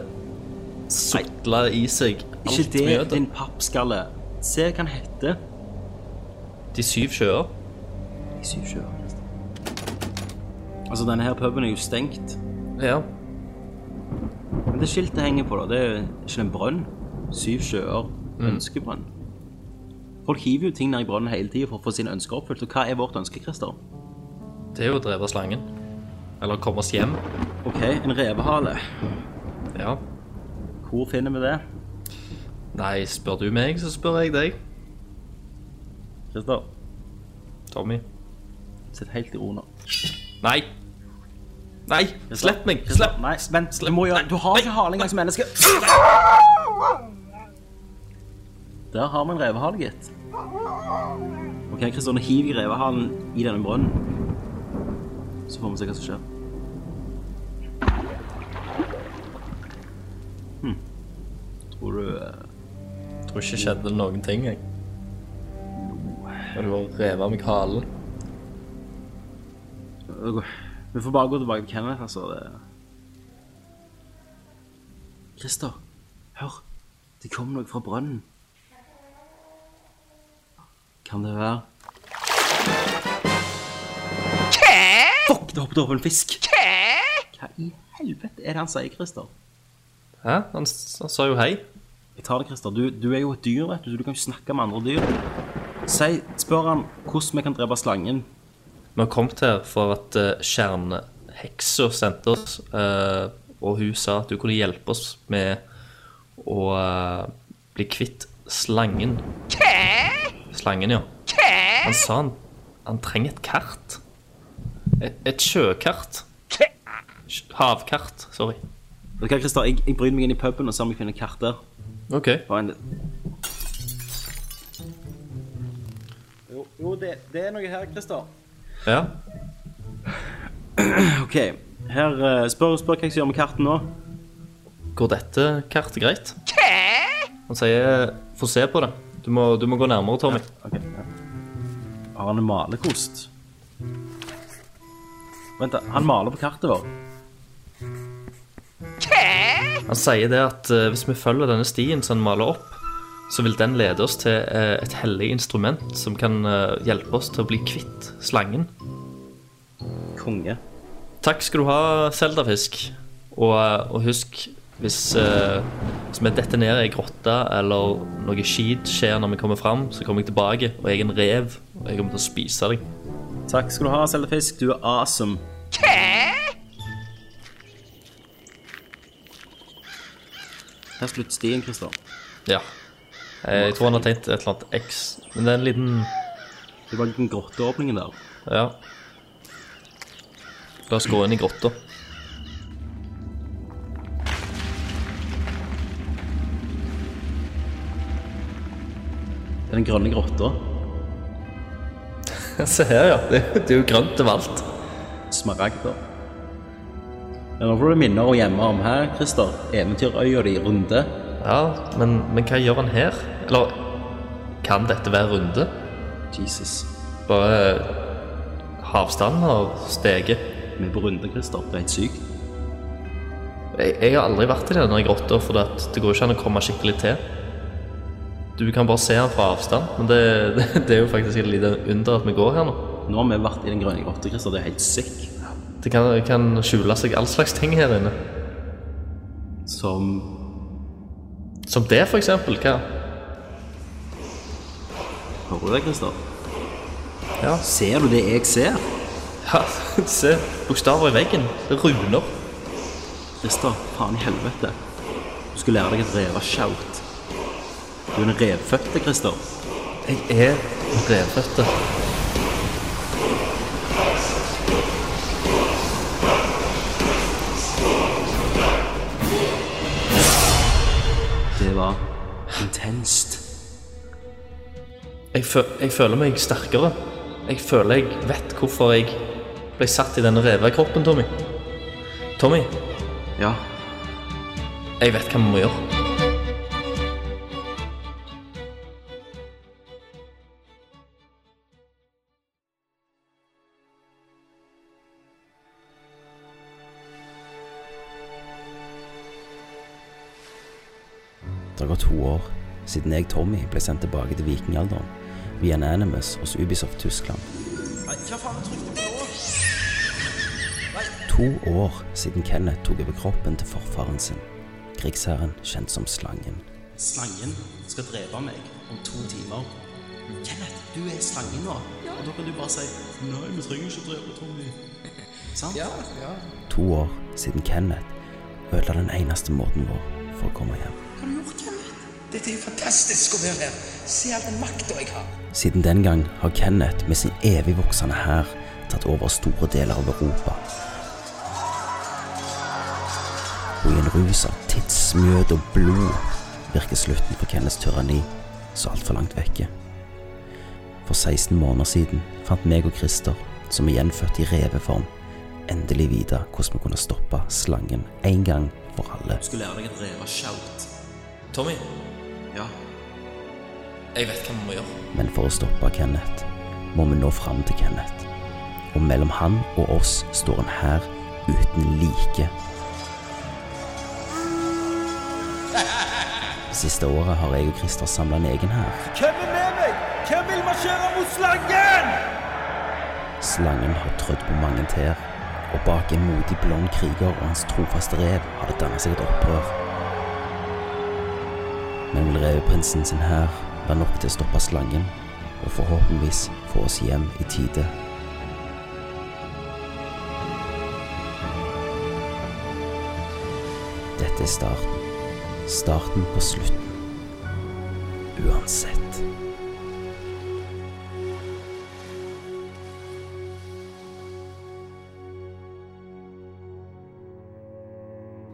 Speaker 5: sutla i seg
Speaker 3: Ikke
Speaker 5: alt
Speaker 3: det,
Speaker 5: mjødet.
Speaker 3: din pappskalle. Se hva den heter.
Speaker 5: De syv sjøer.
Speaker 3: De syv sjøer. Altså, denne her puben er jo stengt.
Speaker 5: Ja.
Speaker 3: Men det skiltet henger på, da. Det er ikke en brønn. Syv sjøer. Ønskebrønn. Folk hiver jo ting ned i brønnen hele tida for å få sine ønsker oppfylt. Og hva er vårt ønske, Christer?
Speaker 5: Det er jo å dreve slangen. Eller komme oss hjem.
Speaker 3: OK, en revehale.
Speaker 5: Ja.
Speaker 3: Hvor finner vi det?
Speaker 5: Nei, spør du meg, så spør jeg deg.
Speaker 3: Christer,
Speaker 5: Tommy.
Speaker 3: sitt helt i ro nå.
Speaker 5: Nei! Nei! Slipp meg! Slipp!
Speaker 3: Nei, vent. Du, må gjøre, du har ikke hale engang som menneske. Der har vi en revehale, gitt. OK, Kristian, hiv i revehalen i denne brønnen. Så får vi se hva som skjer. Hm. Hm. Tror du eh,
Speaker 5: Jeg tror ikke det skjedde noen ting, jeg. Men du har revet av meg halen.
Speaker 3: det går- Vi får bare gå tilbake til Kenneth, altså. Det... Christer, hør. Det kom noe fra brønnen. Kan det være Fuck, det hoppet over en fisk. Hva i helvete er det han sier, Christer?
Speaker 5: Hæ? Han, s- han sa jo hei.
Speaker 3: Jeg tar det, Christer. Du, du er jo et dyr, vet du, så du kan ikke snakke med andre dyr. Si, spør han hvordan vi kan drepe slangen.
Speaker 5: Vi har kommet her for at uh, kjerneheksa sendte oss, eh, og hun sa at hun kunne hjelpe oss med å eh, bli kvitt slangen. Slangen, ja. Han sa han, han trenger et kart. Et, et sjøkart. Sj- Havkart, sorry.
Speaker 3: Vet du hva, Christer? Jeg, jeg bryter meg inn i puben og ser om jeg finner kart der.
Speaker 5: OK.
Speaker 3: Bare en Jo, det, er noe her, Christer.
Speaker 5: Ja.
Speaker 3: OK. Her, eh, spør, spør hva jeg skal gjøre med kartet nå.
Speaker 5: Går dette kartet greit? Han sier få se på det. Du må, du må gå nærmere, Tommy.
Speaker 3: Ok, ja. Har han en malerkost? Vent, da, han maler på kartet vårt.
Speaker 5: Han sier det at eh, hvis vi følger denne stien som han maler opp, så vil den lede oss til eh, et hellig instrument som kan eh, hjelpe oss til å bli kvitt slangen.
Speaker 3: Konge.
Speaker 5: Takk skal du ha, Seldafisk. Og, eh, og husk, hvis, eh, hvis vi detter ned i ei grotte eller noe skit skjer når vi kommer fram, så kommer jeg tilbake, og jeg er en rev, og jeg kommer til å spise deg.
Speaker 3: Takk skal du ha, Seldefisk. Du er awesome. Her slutter stien, Christer.
Speaker 5: Ja. Eh, Jeg tror han har tenkt et eller annet X, men det er en liten
Speaker 3: Det var den grotteåpningen der.
Speaker 5: Ja. La oss gå inn i grotta.
Speaker 3: Det er den grønne grotta.
Speaker 5: Se her, ja. Det, det er jo grønt over alt.
Speaker 3: smaragder. Nå får du minner å gjemme om her, Christer. Eventyrøya di Runde.
Speaker 5: Ja, men, men hva gjør han her? Eller kan dette være runde?
Speaker 3: Jesus.
Speaker 5: Bare eh, havstanden har steget.
Speaker 3: Vi er på Runde, Christer. Det er helt sykt.
Speaker 5: Jeg, jeg har aldri vært i denne grotta, for det, at det går ikke an å komme skikkelig til. Du kan bare se den fra avstand, men det, det, det er jo faktisk et lite under at vi går her nå.
Speaker 3: Nå har vi vært i den grønne grotta, Christer. Det er helt sick.
Speaker 5: Det kan, kan skjule seg all slags ting her inne.
Speaker 3: Som
Speaker 5: Som det, for eksempel. Hva?
Speaker 3: Hører du det, Christer?
Speaker 5: Ja.
Speaker 3: Ser du det jeg ser?
Speaker 5: ja se, bokstaver i veggen. Det runer.
Speaker 3: Christer, faen i helvete. Du skulle lære deg et revashout. Du er en revfødte, Christer.
Speaker 5: Jeg er revfødte.
Speaker 3: Det var intenst.
Speaker 5: Jeg, fø jeg føler meg sterkere. Jeg føler jeg vet hvorfor jeg ble satt i denne revekroppen, Tommy. Tommy,
Speaker 3: Ja.
Speaker 5: jeg vet hva vi må gjøre.
Speaker 11: Det har gått to år siden jeg, Tommy, ble sendt tilbake til vikingalderen via en Animus hos Ubisoft Tyskland. To år siden Kenneth tok over kroppen til forfaren sin, krigsherren kjent som Slangen.
Speaker 2: Slangen skal drepe meg om to timer. Kenneth, du er slangen nå. Og da kan du bare si Nei, vi trenger ikke drepe Tommy. Sant?
Speaker 4: Ja, ja.
Speaker 11: To år siden Kenneth ødela den eneste måten vår for å komme hjem.
Speaker 4: Dette er jo fantastisk å være her. Se all den makta jeg har.
Speaker 11: Siden den gang har Kenneth med sin evig voksende hær tatt over store deler av Europa. Og i en rus av tidsmjød og blod virker slutten for Kenneths tyranni så altfor langt vekke. For 16 måneder siden fant meg og Christer, som er gjenfødt i reveform, endelig vite hvordan vi kunne stoppe slangen en gang for alle.
Speaker 3: Du skulle lære deg et revashout.
Speaker 5: Tommy,
Speaker 3: Ja.
Speaker 5: jeg vet hva vi må gjøre.
Speaker 11: Men for å stoppe Kenneth, må vi nå fram til Kenneth. Og mellom han og oss står en hær uten like. Det siste året har jeg og Christer samla en egen hær.
Speaker 12: Hvem er med meg? Hvem vil marsjere mot slangen?
Speaker 11: Slangen har trødd på mange tær, og bak en modig blond kriger og hans trofaste rev har det dannet seg et opprør. Men vil reveprinsen sin hær være nok til å stoppe slangen, og forhåpentligvis få oss hjem i tide? Dette er starten. Starten på slutten. Uansett.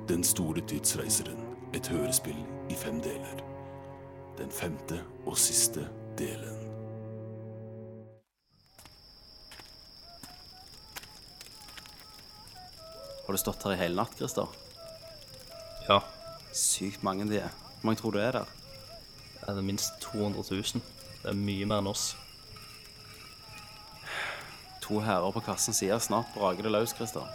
Speaker 1: Den store tidsreiseren. Et hørespill i fem deler. Den femte og siste delen.
Speaker 3: Har du stått her i hele natt, Christer?
Speaker 5: Ja,
Speaker 3: Sykt mange de er. Hvor mange tror du er der?
Speaker 5: det er minst 200 000. Det er mye mer enn oss.
Speaker 3: To herrer på kassen sier snart braker det løs, Christer.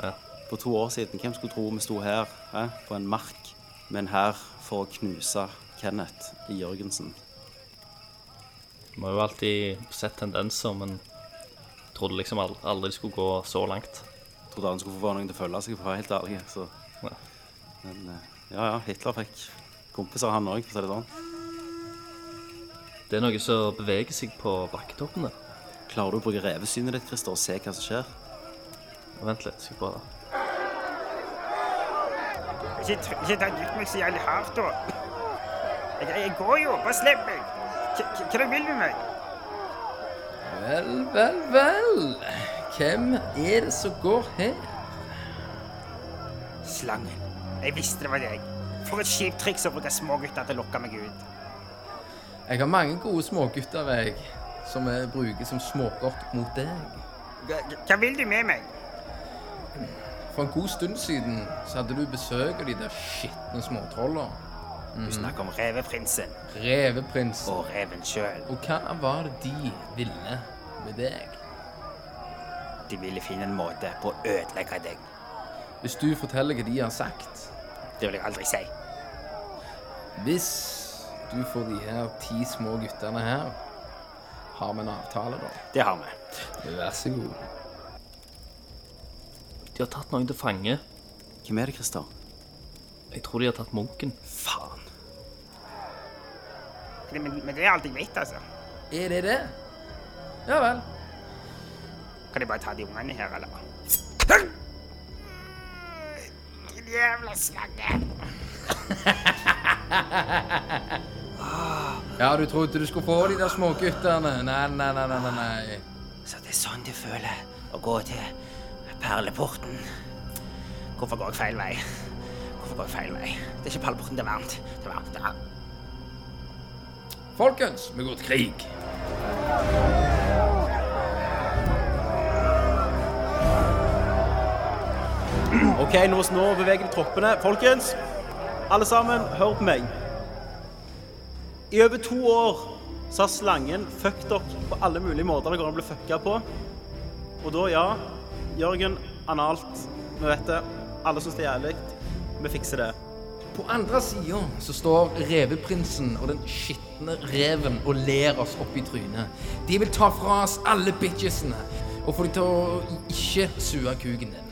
Speaker 5: Ja.
Speaker 3: For to år siden, hvem skulle tro vi sto her, eh, på en mark, med en hær for å knuse Kenneth i Jørgensen?
Speaker 5: Vi har jo alltid sett tendenser, men trodde liksom al- aldri det skulle gå så langt.
Speaker 3: Trodde han skulle få være noen til å følge seg, for å være helt ærlig. Så.
Speaker 5: Ja.
Speaker 3: Men eh, ja, ja, Hitler fikk kompiser, han òg, for å si det sånn.
Speaker 5: Det er noe som beveger seg på bakketoppene.
Speaker 3: Klarer du å bruke revesynet ditt, Christer, og se hva som skjer?
Speaker 5: Vent litt, skal jeg bare
Speaker 9: Ikke, tr- ikke ta ut meg så jævlig hardt, da. Jeg, jeg går jo. Bare slipp meg. Hva- Hva hva vil du med meg?
Speaker 4: Vel, vel, vel. Hvem er det som går her?
Speaker 9: Slangen. Jeg visste det var deg. For et kjipt triks å bruke smågutter til å lokke meg ut.
Speaker 4: Jeg har mange gode smågutter, jeg, som jeg bruker som smågodt mot deg.
Speaker 9: Hva- Hva vil du med meg?
Speaker 4: For en god stund siden så hadde du besøk av de der skitne småtrollene.
Speaker 13: Du snakker om reveprinsen.
Speaker 4: Reveprinsen.
Speaker 13: Og reven sjøl.
Speaker 4: Og hva var det de ville med deg?
Speaker 13: De ville finne en måte på å ødelegge deg.
Speaker 4: Hvis du forteller hva de har sagt
Speaker 13: Det vil jeg aldri si.
Speaker 4: Hvis du får de her ti små guttene her, har vi en avtale, da.
Speaker 13: Det har vi.
Speaker 4: Vær så god.
Speaker 5: De har tatt noen til fange.
Speaker 3: Hvem er det, Christer?
Speaker 5: Jeg tror de har tatt munken.
Speaker 3: Faen.
Speaker 9: Men, men det er alt jeg vet, altså.
Speaker 4: Er det det? Ja vel.
Speaker 9: Kan jeg bare ta de ungene her, eller? Din jævla slange!
Speaker 4: Ja, du trodde du skulle få de der småguttene. Nei, nei, nei, nei, nei, nei.
Speaker 13: Så det er sånn de føler å gå til perleporten. Hvorfor går jeg feil vei? Hvorfor går jeg feil vei? Det er ikke perleporten, det er varmt. Det er varmt. Det er varmt.
Speaker 4: Folkens, vi går til krig.
Speaker 3: OK, nå, nå beveger de troppene. Folkens, alle sammen, hør på meg. I over to år så har slangen fucked opp på alle mulige måter det går an å bli fucka på. Og da, ja Jørgen, analt. Vi vet det. Alle syns det er jævlig. Vi fikser det.
Speaker 4: På andre sida så står reveprinsen og den skitne reven og ler oss opp i trynet. De vil ta fra oss alle bitchesene og få de til å ikke sue kuken din.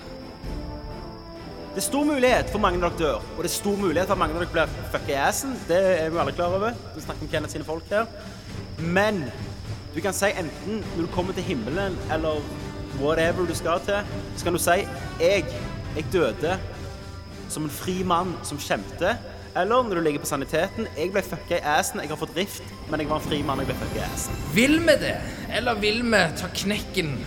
Speaker 3: Det er stor mulighet for mange av dere dør, og det er stor mulighet for at mange av dere blir fucka i assen. Det er vi alle klar over. Vi snakker om Kenneth sine folk der. Men du kan si enten når du kommer til himmelen eller whatever du skal til, så kan du si 'Jeg, jeg døde som en fri mann som kjempet'. Eller når du ligger på saniteten 'Jeg ble fucka i assen, jeg har fått rift, men jeg var en fri mann, jeg ble fucka i assen'.
Speaker 4: Vil vi det, eller vil vi ta knekken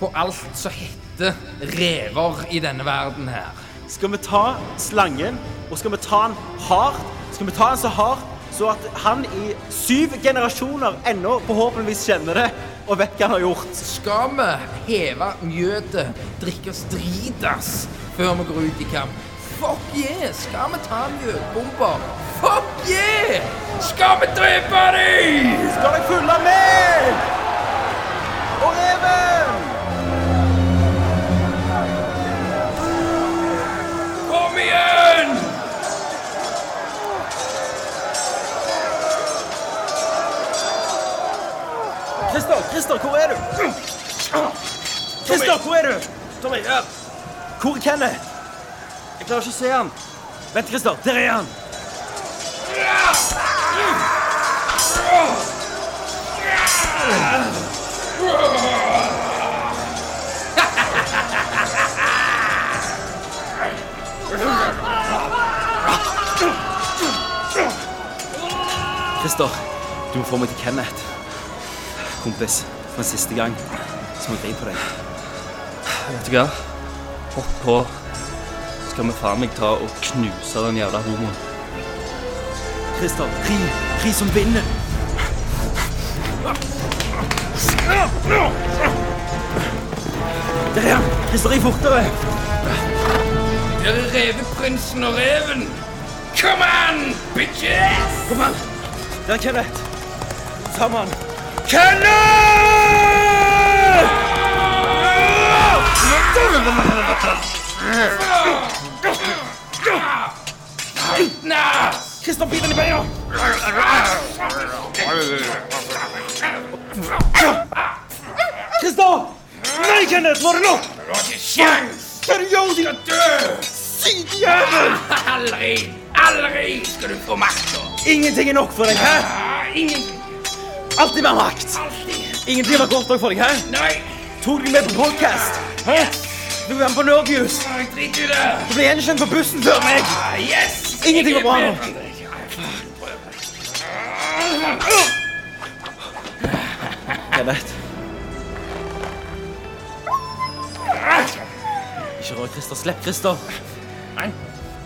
Speaker 4: på alt som heter rever i denne verden her?
Speaker 3: Skal vi ta slangen, og skal vi ta den hardt? Skal vi ta den så hardt, så at han i syv generasjoner ennå forhåpentligvis kjenner det, og vet hva han har gjort?
Speaker 4: Skal vi heve mjødet, drikke oss dritas før vi går ut i kamp? Fuck yeah! Skal vi ta mjødbomber? Fuck yeah! Skal vi drepe dem?
Speaker 3: Skal dere følge med? Og reven!
Speaker 4: Kom igjen!
Speaker 3: Christer, Christer, hvor er du? Christer, hvor er du? Tommy, her. Hvor er Kenneth? Jeg klarer ikke å se han. Vent, Christer, der er han. Christer, du må få meg til Kenneth. Kompis, for en siste gang så må jeg grine på deg.
Speaker 5: Vet du hva? Hopp på. Skal vi faen meg ta og knuse den jævla homoen.
Speaker 3: Christer, ri, ri som vinden. Der er han! Christer, ri fortere!
Speaker 4: Der er reveprinsen og reven. Come on, bitches!
Speaker 3: Kom an! Der er Kenneth. Sammen. Christer, bit den i beina! Christer! Nei, Kenneth, nå er det nok!
Speaker 4: Du har ikke sjans!
Speaker 3: Hva er det du gjør, din
Speaker 4: Dø!
Speaker 3: syke jævel?
Speaker 4: Aldri, aldri skal du få makta.
Speaker 3: Ingenting er nok for deg, hæ?
Speaker 4: Ingen
Speaker 3: Alltid mer makt!
Speaker 4: alltid.
Speaker 3: Ingenting var godt nok for deg, hæ?
Speaker 4: Nei,
Speaker 3: Tok deg med på podcast? Hæ? Du var med på Nordnews?
Speaker 4: jeg driter i det.
Speaker 3: Du ble gjenkjent på bussen før meg!
Speaker 4: Ah, yes!
Speaker 3: Ingenting var bra nå.
Speaker 4: nå.
Speaker 3: Kenneth. Ikke rør Christer. Slipp Christer.
Speaker 4: Nei,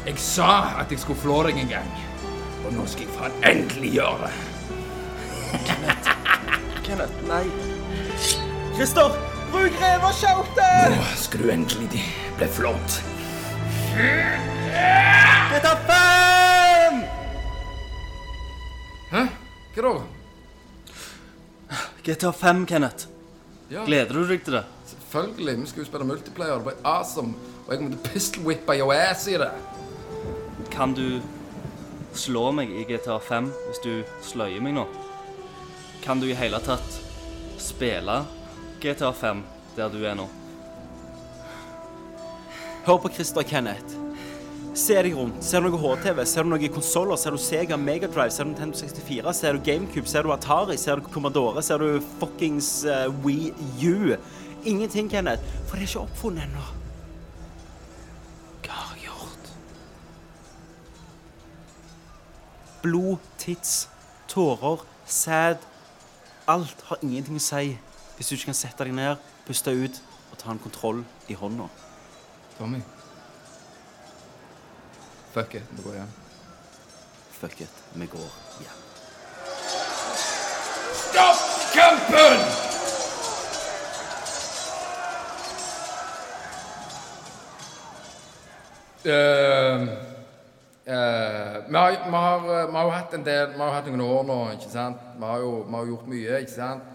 Speaker 4: jeg sa at jeg skulle flå deg en gang. Og nå skal jeg faen endelig gjøre det.
Speaker 3: Kenneth, nei. Christer!
Speaker 14: Bruk reveskjautet!
Speaker 15: Skru endelig de ble flått.
Speaker 14: Jeg tar fem!
Speaker 6: Hæ? Hva da?
Speaker 3: GTA 5, Kenneth.
Speaker 6: Ja.
Speaker 3: Gleder du deg til det?
Speaker 6: Selvfølgelig. Vi skal jo spille multiplayer. Det blir awesome. Og jeg kommer til å pistol whippe your ass i det.
Speaker 3: Kan du slå meg i GTA 5 hvis du sløyer meg nå? Kan du i hele tatt spille GTA 5 der du er nå? Hør på Christer og Kenneth. Se deg rundt. Ser du noe HTV? Ser du noen konsoller? Ser du Sega Megadrive? Ser du Nintendo 64? Ser du GameCube? Ser du Atari? Ser du Commodore? Ser du fuckings eh, Wii U? Ingenting, Kenneth. For det er ikke oppfunnet ennå. Hva har jeg gjort? Blod, tits, tårer, sæd Alt har ingenting å si hvis du ikke kan sette deg ned, puste ut og ta en kontroll i hånda.
Speaker 6: Tommy. Fuck it, vi går hjem.
Speaker 3: Fuck it, vi går hjem.
Speaker 16: Stopp kampen!
Speaker 6: Eh, eh, vi, har, vi, har, eh, vi har jo hatt en del Vi har jo hatt noen år nå, ikke sant? Vi har jo vi har gjort mye, ikke sant?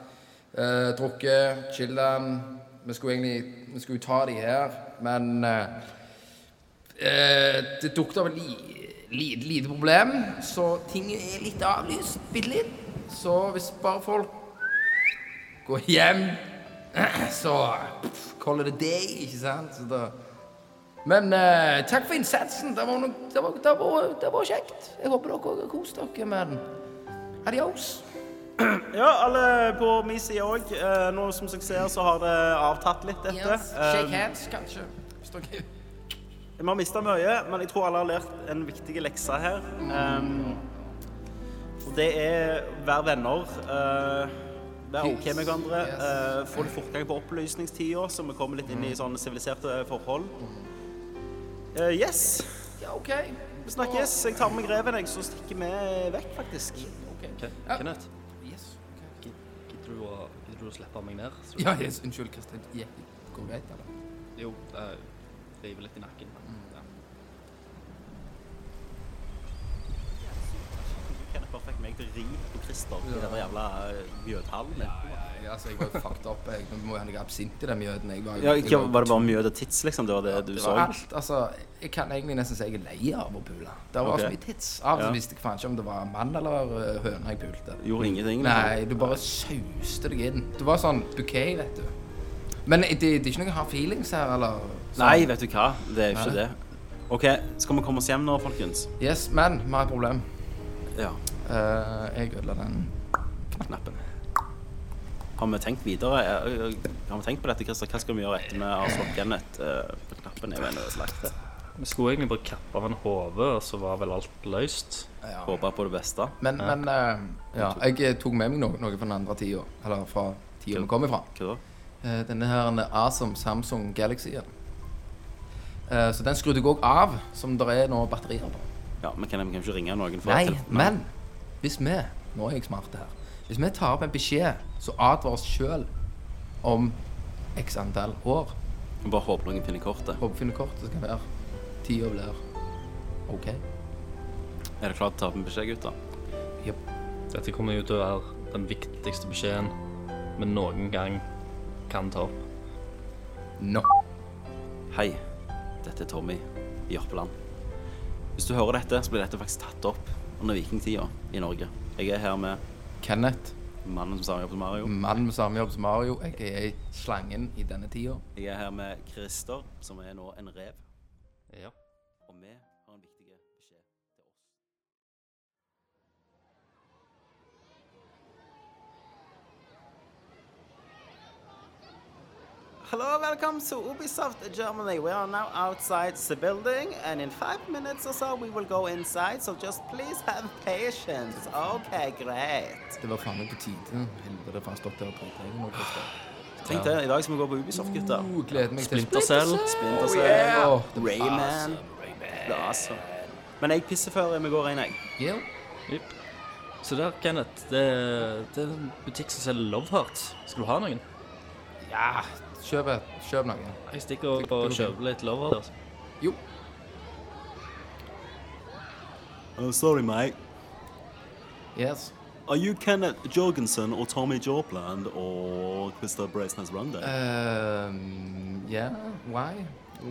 Speaker 6: Eh, drukket, chillet. Vi skulle egentlig vi skulle jo ta de her, men eh, eh, det dukket opp et li, li, lite problem, så ting er litt avlyst. Bitte litt. Så hvis bare folk går hjem, så pff, holder det deg, ikke sant? Så da men eh, takk for innsatsen. Det var, noe, det, var, det, var, det var kjekt. Jeg håper dere har kost dere med den. Adios.
Speaker 3: Ja, alle på min side òg. Nå som jeg ser, så har det avtatt litt, dette. Eh,
Speaker 6: Yes, shake hands, kanskje. Hvis dere
Speaker 3: Vi har mista mye, men jeg tror alle har lært en viktig lekse her. Um, og det er vær venner. Uh, Vær OK med hverandre. Uh, få litt fortgang på opplysningstida, så vi kommer litt inn
Speaker 6: Mm.
Speaker 3: i sånne siviliserte forhold. Uh, yes.
Speaker 6: Ja, OK.
Speaker 3: Vi snakkes. Jeg tar med meg reven, jeg, så stikker vi vekk, faktisk.
Speaker 6: Ja.
Speaker 5: Kenneth? Gid- Gidder du, å- gidder du å slippe meg ned? Så-
Speaker 6: Ja, yes, unnskyld, Kristian. Ja, går det greit, eller?
Speaker 5: Jo, eh, river litt i nakken.
Speaker 3: Mm.
Speaker 5: Ja.
Speaker 3: Kenneth bare fikk meg til å ri på Christer i
Speaker 6: Ja.
Speaker 3: den jævla eh, mjødhallen.
Speaker 6: Nei, altså, jeg var jo fucked up. Jeg Vi må jo ha noe absint i den mjøden. Jeg var,
Speaker 3: Ja,
Speaker 6: jeg
Speaker 3: ikke, var det bare mjød og tits, liksom? Det var det du
Speaker 6: Det
Speaker 3: så?
Speaker 6: var alt. Altså, jeg kan egentlig nesten si jeg er lei av å pule. Det var
Speaker 3: Ok.
Speaker 6: så mye tits. Av og til
Speaker 3: Ja.
Speaker 6: visste jeg faen ikke om det var mann eller uh, høne jeg pulte.
Speaker 3: Gjorde ingenting, liksom?
Speaker 6: Nei, du bare sauste deg inn. Du var sånn bouquet, vet du. Men det, det er ikke noen hard feelings her, eller? sånn?
Speaker 3: Nei, vet du hva? Det er jo ikke
Speaker 6: Nei.
Speaker 3: det. OK, skal vi komme oss hjem nå, folkens?
Speaker 6: Yes, men vi har et problem.
Speaker 3: Ja.
Speaker 6: Eh, jeg ødela den.
Speaker 3: Knappen. Har vi tenkt videre? Eh, eh, Har vi tenkt på dette, Christer? Hva skal vi gjøre etter vi har slått Kenneth eh, på knappen? Jeg mener, slakte.
Speaker 5: Vi skulle egentlig bare kappe av en hode, og så var vel alt løst.
Speaker 6: Ja.
Speaker 3: Håper på det beste.
Speaker 6: Men, men eh, ja, jeg eh, tok med meg noe, noe fra den andre tida. Eller fra tida vi kom ifra.
Speaker 3: Hva da?
Speaker 6: Eh, denne her en awesome Samsung Galaxy-en. Eh, så den skrudde jeg òg av, som det er nå batterier på.
Speaker 3: Ja, men kan vi kan ikke ringe noen for
Speaker 6: Nei,
Speaker 3: telefonen?
Speaker 6: men hvis vi Nå er jeg smart her. Hvis vi tar opp en beskjed, så advarer oss sjøl om x antall år.
Speaker 3: Vi Bare håper noen finner kortet.
Speaker 6: Håper vi finner kortet, så kan det være tida blir OK.
Speaker 3: Er det klart å ta opp en beskjed, gutter?
Speaker 5: Dette kommer jo til å være den viktigste beskjeden vi noen gang kan ta opp.
Speaker 6: Nå.
Speaker 3: Hei, dette er Tommy i Jørpeland. Hvis du hører dette, så blir dette faktisk tatt opp under vikingtida i Norge. Jeg er her med
Speaker 6: Kenneth.
Speaker 3: Mannen som sa jobb som Mario.
Speaker 6: Mannen med samme jobb som Mario, jeg er slangen i denne tida.
Speaker 3: Jeg er her med Christer, som er nå en rev.
Speaker 5: Ja.
Speaker 3: Og vi har en viktig beskjed. Hello, welcome to Ubisoft Germany. We are now outside the building, and in five minutes or so, we will go inside. So just please have patience. Okay, great.
Speaker 6: Det var faen meg på tide. Helvete, faen stopp der og drite deg nå. Christer.
Speaker 3: Tenk det, i dag skal vi gå på Ubisoft, gutter.
Speaker 6: Uh, Oh, gleder meg til
Speaker 3: Splinter Cell. Splinter Cell.
Speaker 6: Oh, yeah.
Speaker 3: Åh,
Speaker 6: Det blir
Speaker 3: Rayman.
Speaker 6: awesome,
Speaker 3: Det er awesome. Men jeg pisser før vi går inn, jeg.
Speaker 5: Jipp. Så der, Kenneth, det, det er en butikk som selger Love Hearts. Skal du ha noen?
Speaker 6: Ja, kjøp, et- kjøp noe.
Speaker 5: Jeg stikker og, og kjøper litt lover. Altså.
Speaker 6: Jo.
Speaker 17: Oh, sorry, mate.
Speaker 6: Yes.
Speaker 17: Are you Kenneth Jorgensen or Tommy Jopland or Krista Bracenes Runde?
Speaker 6: Uh. Um, yeah, why?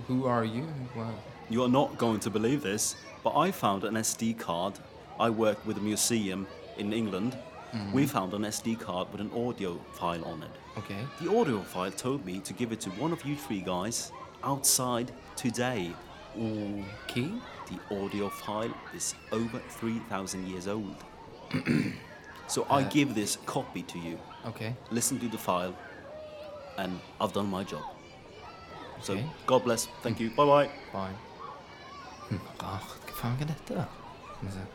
Speaker 6: Who are you? Why?
Speaker 17: You are not going to believe this, but I found an SD card. I work with a museum in England.
Speaker 6: Mhm.
Speaker 17: We found an SD card with an audio file on it.
Speaker 6: Okay.
Speaker 17: The audio file told me to give it to one of you three guys outside today.
Speaker 6: Okay.
Speaker 17: The audio file is over 3,000 years old. so I give this copy to you.
Speaker 6: Okay.
Speaker 17: Listen to the file, and I've done my job. So
Speaker 6: Okay.
Speaker 17: God bless. Thank you. Bye bye.
Speaker 6: Bye. Hm, Rart. Hva faen er dette? Skal vi se.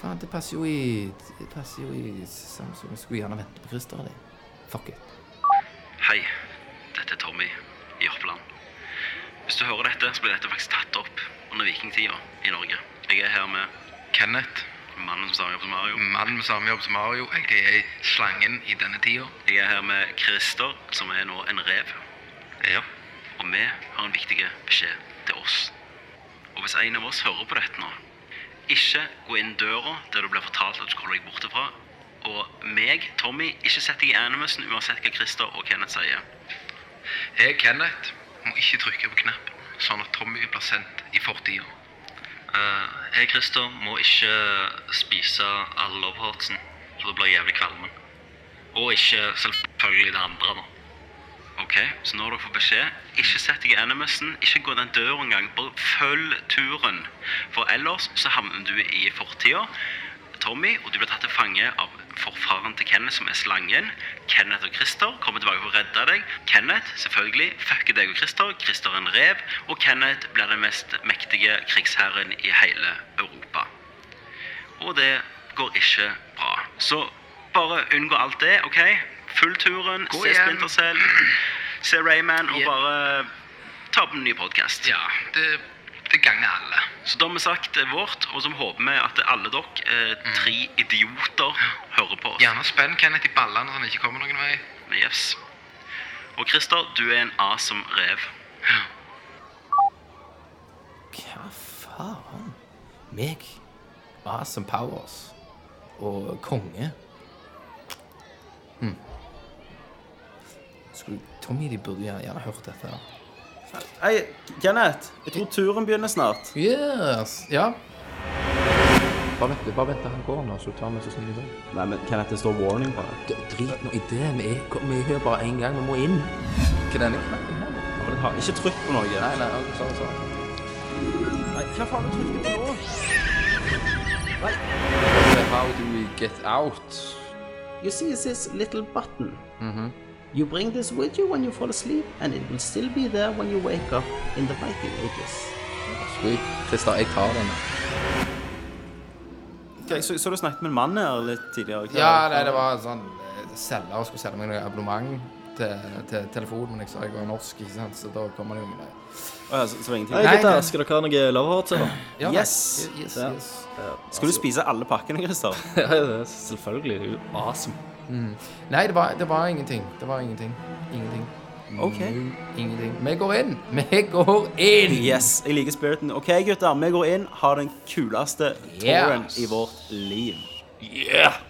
Speaker 6: Faen, det passer jo i Det passer jo i Samsung. Jeg skulle gjerne vente på Christer. det. Fuck it.
Speaker 3: Hei, dette er Tommy i Oppland. Hvis du hører dette, så ble dette faktisk tatt opp under vikingtida i Norge. Jeg er her med Kenneth, mannen med samme jobb som Mario. Mannen med samme jobb som Mario. Jeg er slangen i denne tida. Jeg er her med Christer, som er nå en rev. Ja. Og vi har en viktig beskjed til oss. Og hvis en av oss hører på dette nå, ikke gå inn døra der du blir fortalt at du skal holde deg borte fra. Og meg, Tommy, ikke sett deg i animusen uansett hva Christer og Kenneth sier.
Speaker 9: Jeg, Kenneth, må ikke trykke på knappen, sånn at Tommy blir sendt i fortida.
Speaker 3: Eh, jeg, Christer, må ikke spise all loveheartsen, for da blir jeg jævlig kvalmen. Og ikke selvfølgelig det andre, da. Ok, så nå har dere fått beskjed. Ikke sett deg i animusen, ikke gå den døra engang. Bare følg turen. For ellers så havner du i fortida. Tommy, og du blir tatt til fange av forfaren til Kenneth, som er slangen. Kenneth og Christer kommer tilbake for å redde deg. Kenneth, selvfølgelig, fucker deg og Christer. Christer er en rev. Og Kenneth blir den mest mektige krigsherren i hele Europa. Og det går ikke bra. Så bare unngå alt det, OK? Full turen,
Speaker 9: Gå
Speaker 3: se
Speaker 9: hjem.
Speaker 3: Splinter Cell, se Rayman, og bare ta opp en ny podkast. Ja, det, ganger alle. Så da har vi sagt eh, vårt, og så håper vi at alle dere, eh, tre idioter, hører på oss.
Speaker 9: Gjerne spenn Kenneth i ballene så han ikke kommer noen vei.
Speaker 3: Yes. Og Christer, du er en awesome rev.
Speaker 6: Hva faen? Meg? Awesome Powers. Og konge. Hm. Skulle Tommy de burde gjerne, gjerne hørt dette. her.
Speaker 18: Hei, Kenneth. Jeg tror turen begynner snart.
Speaker 6: Yes. Ja. Bare vent, bare vent til han går nå, så tar vi så snill i dag.
Speaker 18: Nei, men Kenneth, det står warning på det.
Speaker 6: Drit nå i det. Vi er, vi er her bare én gang. Vi må inn. Hva er denne knappen her?
Speaker 18: Ha- Ikke trykk på noe.
Speaker 6: Nei, nei, ok, sorry, sorry.
Speaker 18: Nei, hva faen har du trykket på nå?
Speaker 6: How do we get out?
Speaker 2: You see this little button? You bring this with you when you fall asleep, and it will still be there when you wake up in the Viking Ages.
Speaker 6: Sweet. Christer, jeg tar den.
Speaker 18: Ok, så, så du snakket med en mann her litt tidligere? ikke?
Speaker 6: Ja, nei, det var en sånn eh, selger som skulle selge meg noe abonnement til, til telefon, men jeg sa jeg var norsk, ikke sant, så da kommer det jo ingen
Speaker 18: Å ja, så, så ingenting?
Speaker 5: Hei, gutter. Skal dere ha noe loverheart til?
Speaker 6: Ja,
Speaker 18: yes.
Speaker 6: takk. Yes,
Speaker 18: Ja.
Speaker 6: yes.
Speaker 18: Skal du spise alle pakkene, Christer?
Speaker 5: ja, det er selvfølgelig. Det er jo awesome.
Speaker 6: Mm. Nei, det var, det var ingenting. Det var ingenting. Ingenting.
Speaker 18: Ok.
Speaker 6: Ingenting. Vi går inn. Vi går inn!
Speaker 18: Yes, jeg liker spiriten. OK, gutter, vi går inn. Ha den kuleste
Speaker 6: Yeah.
Speaker 18: turen i vårt liv.
Speaker 6: Yeah!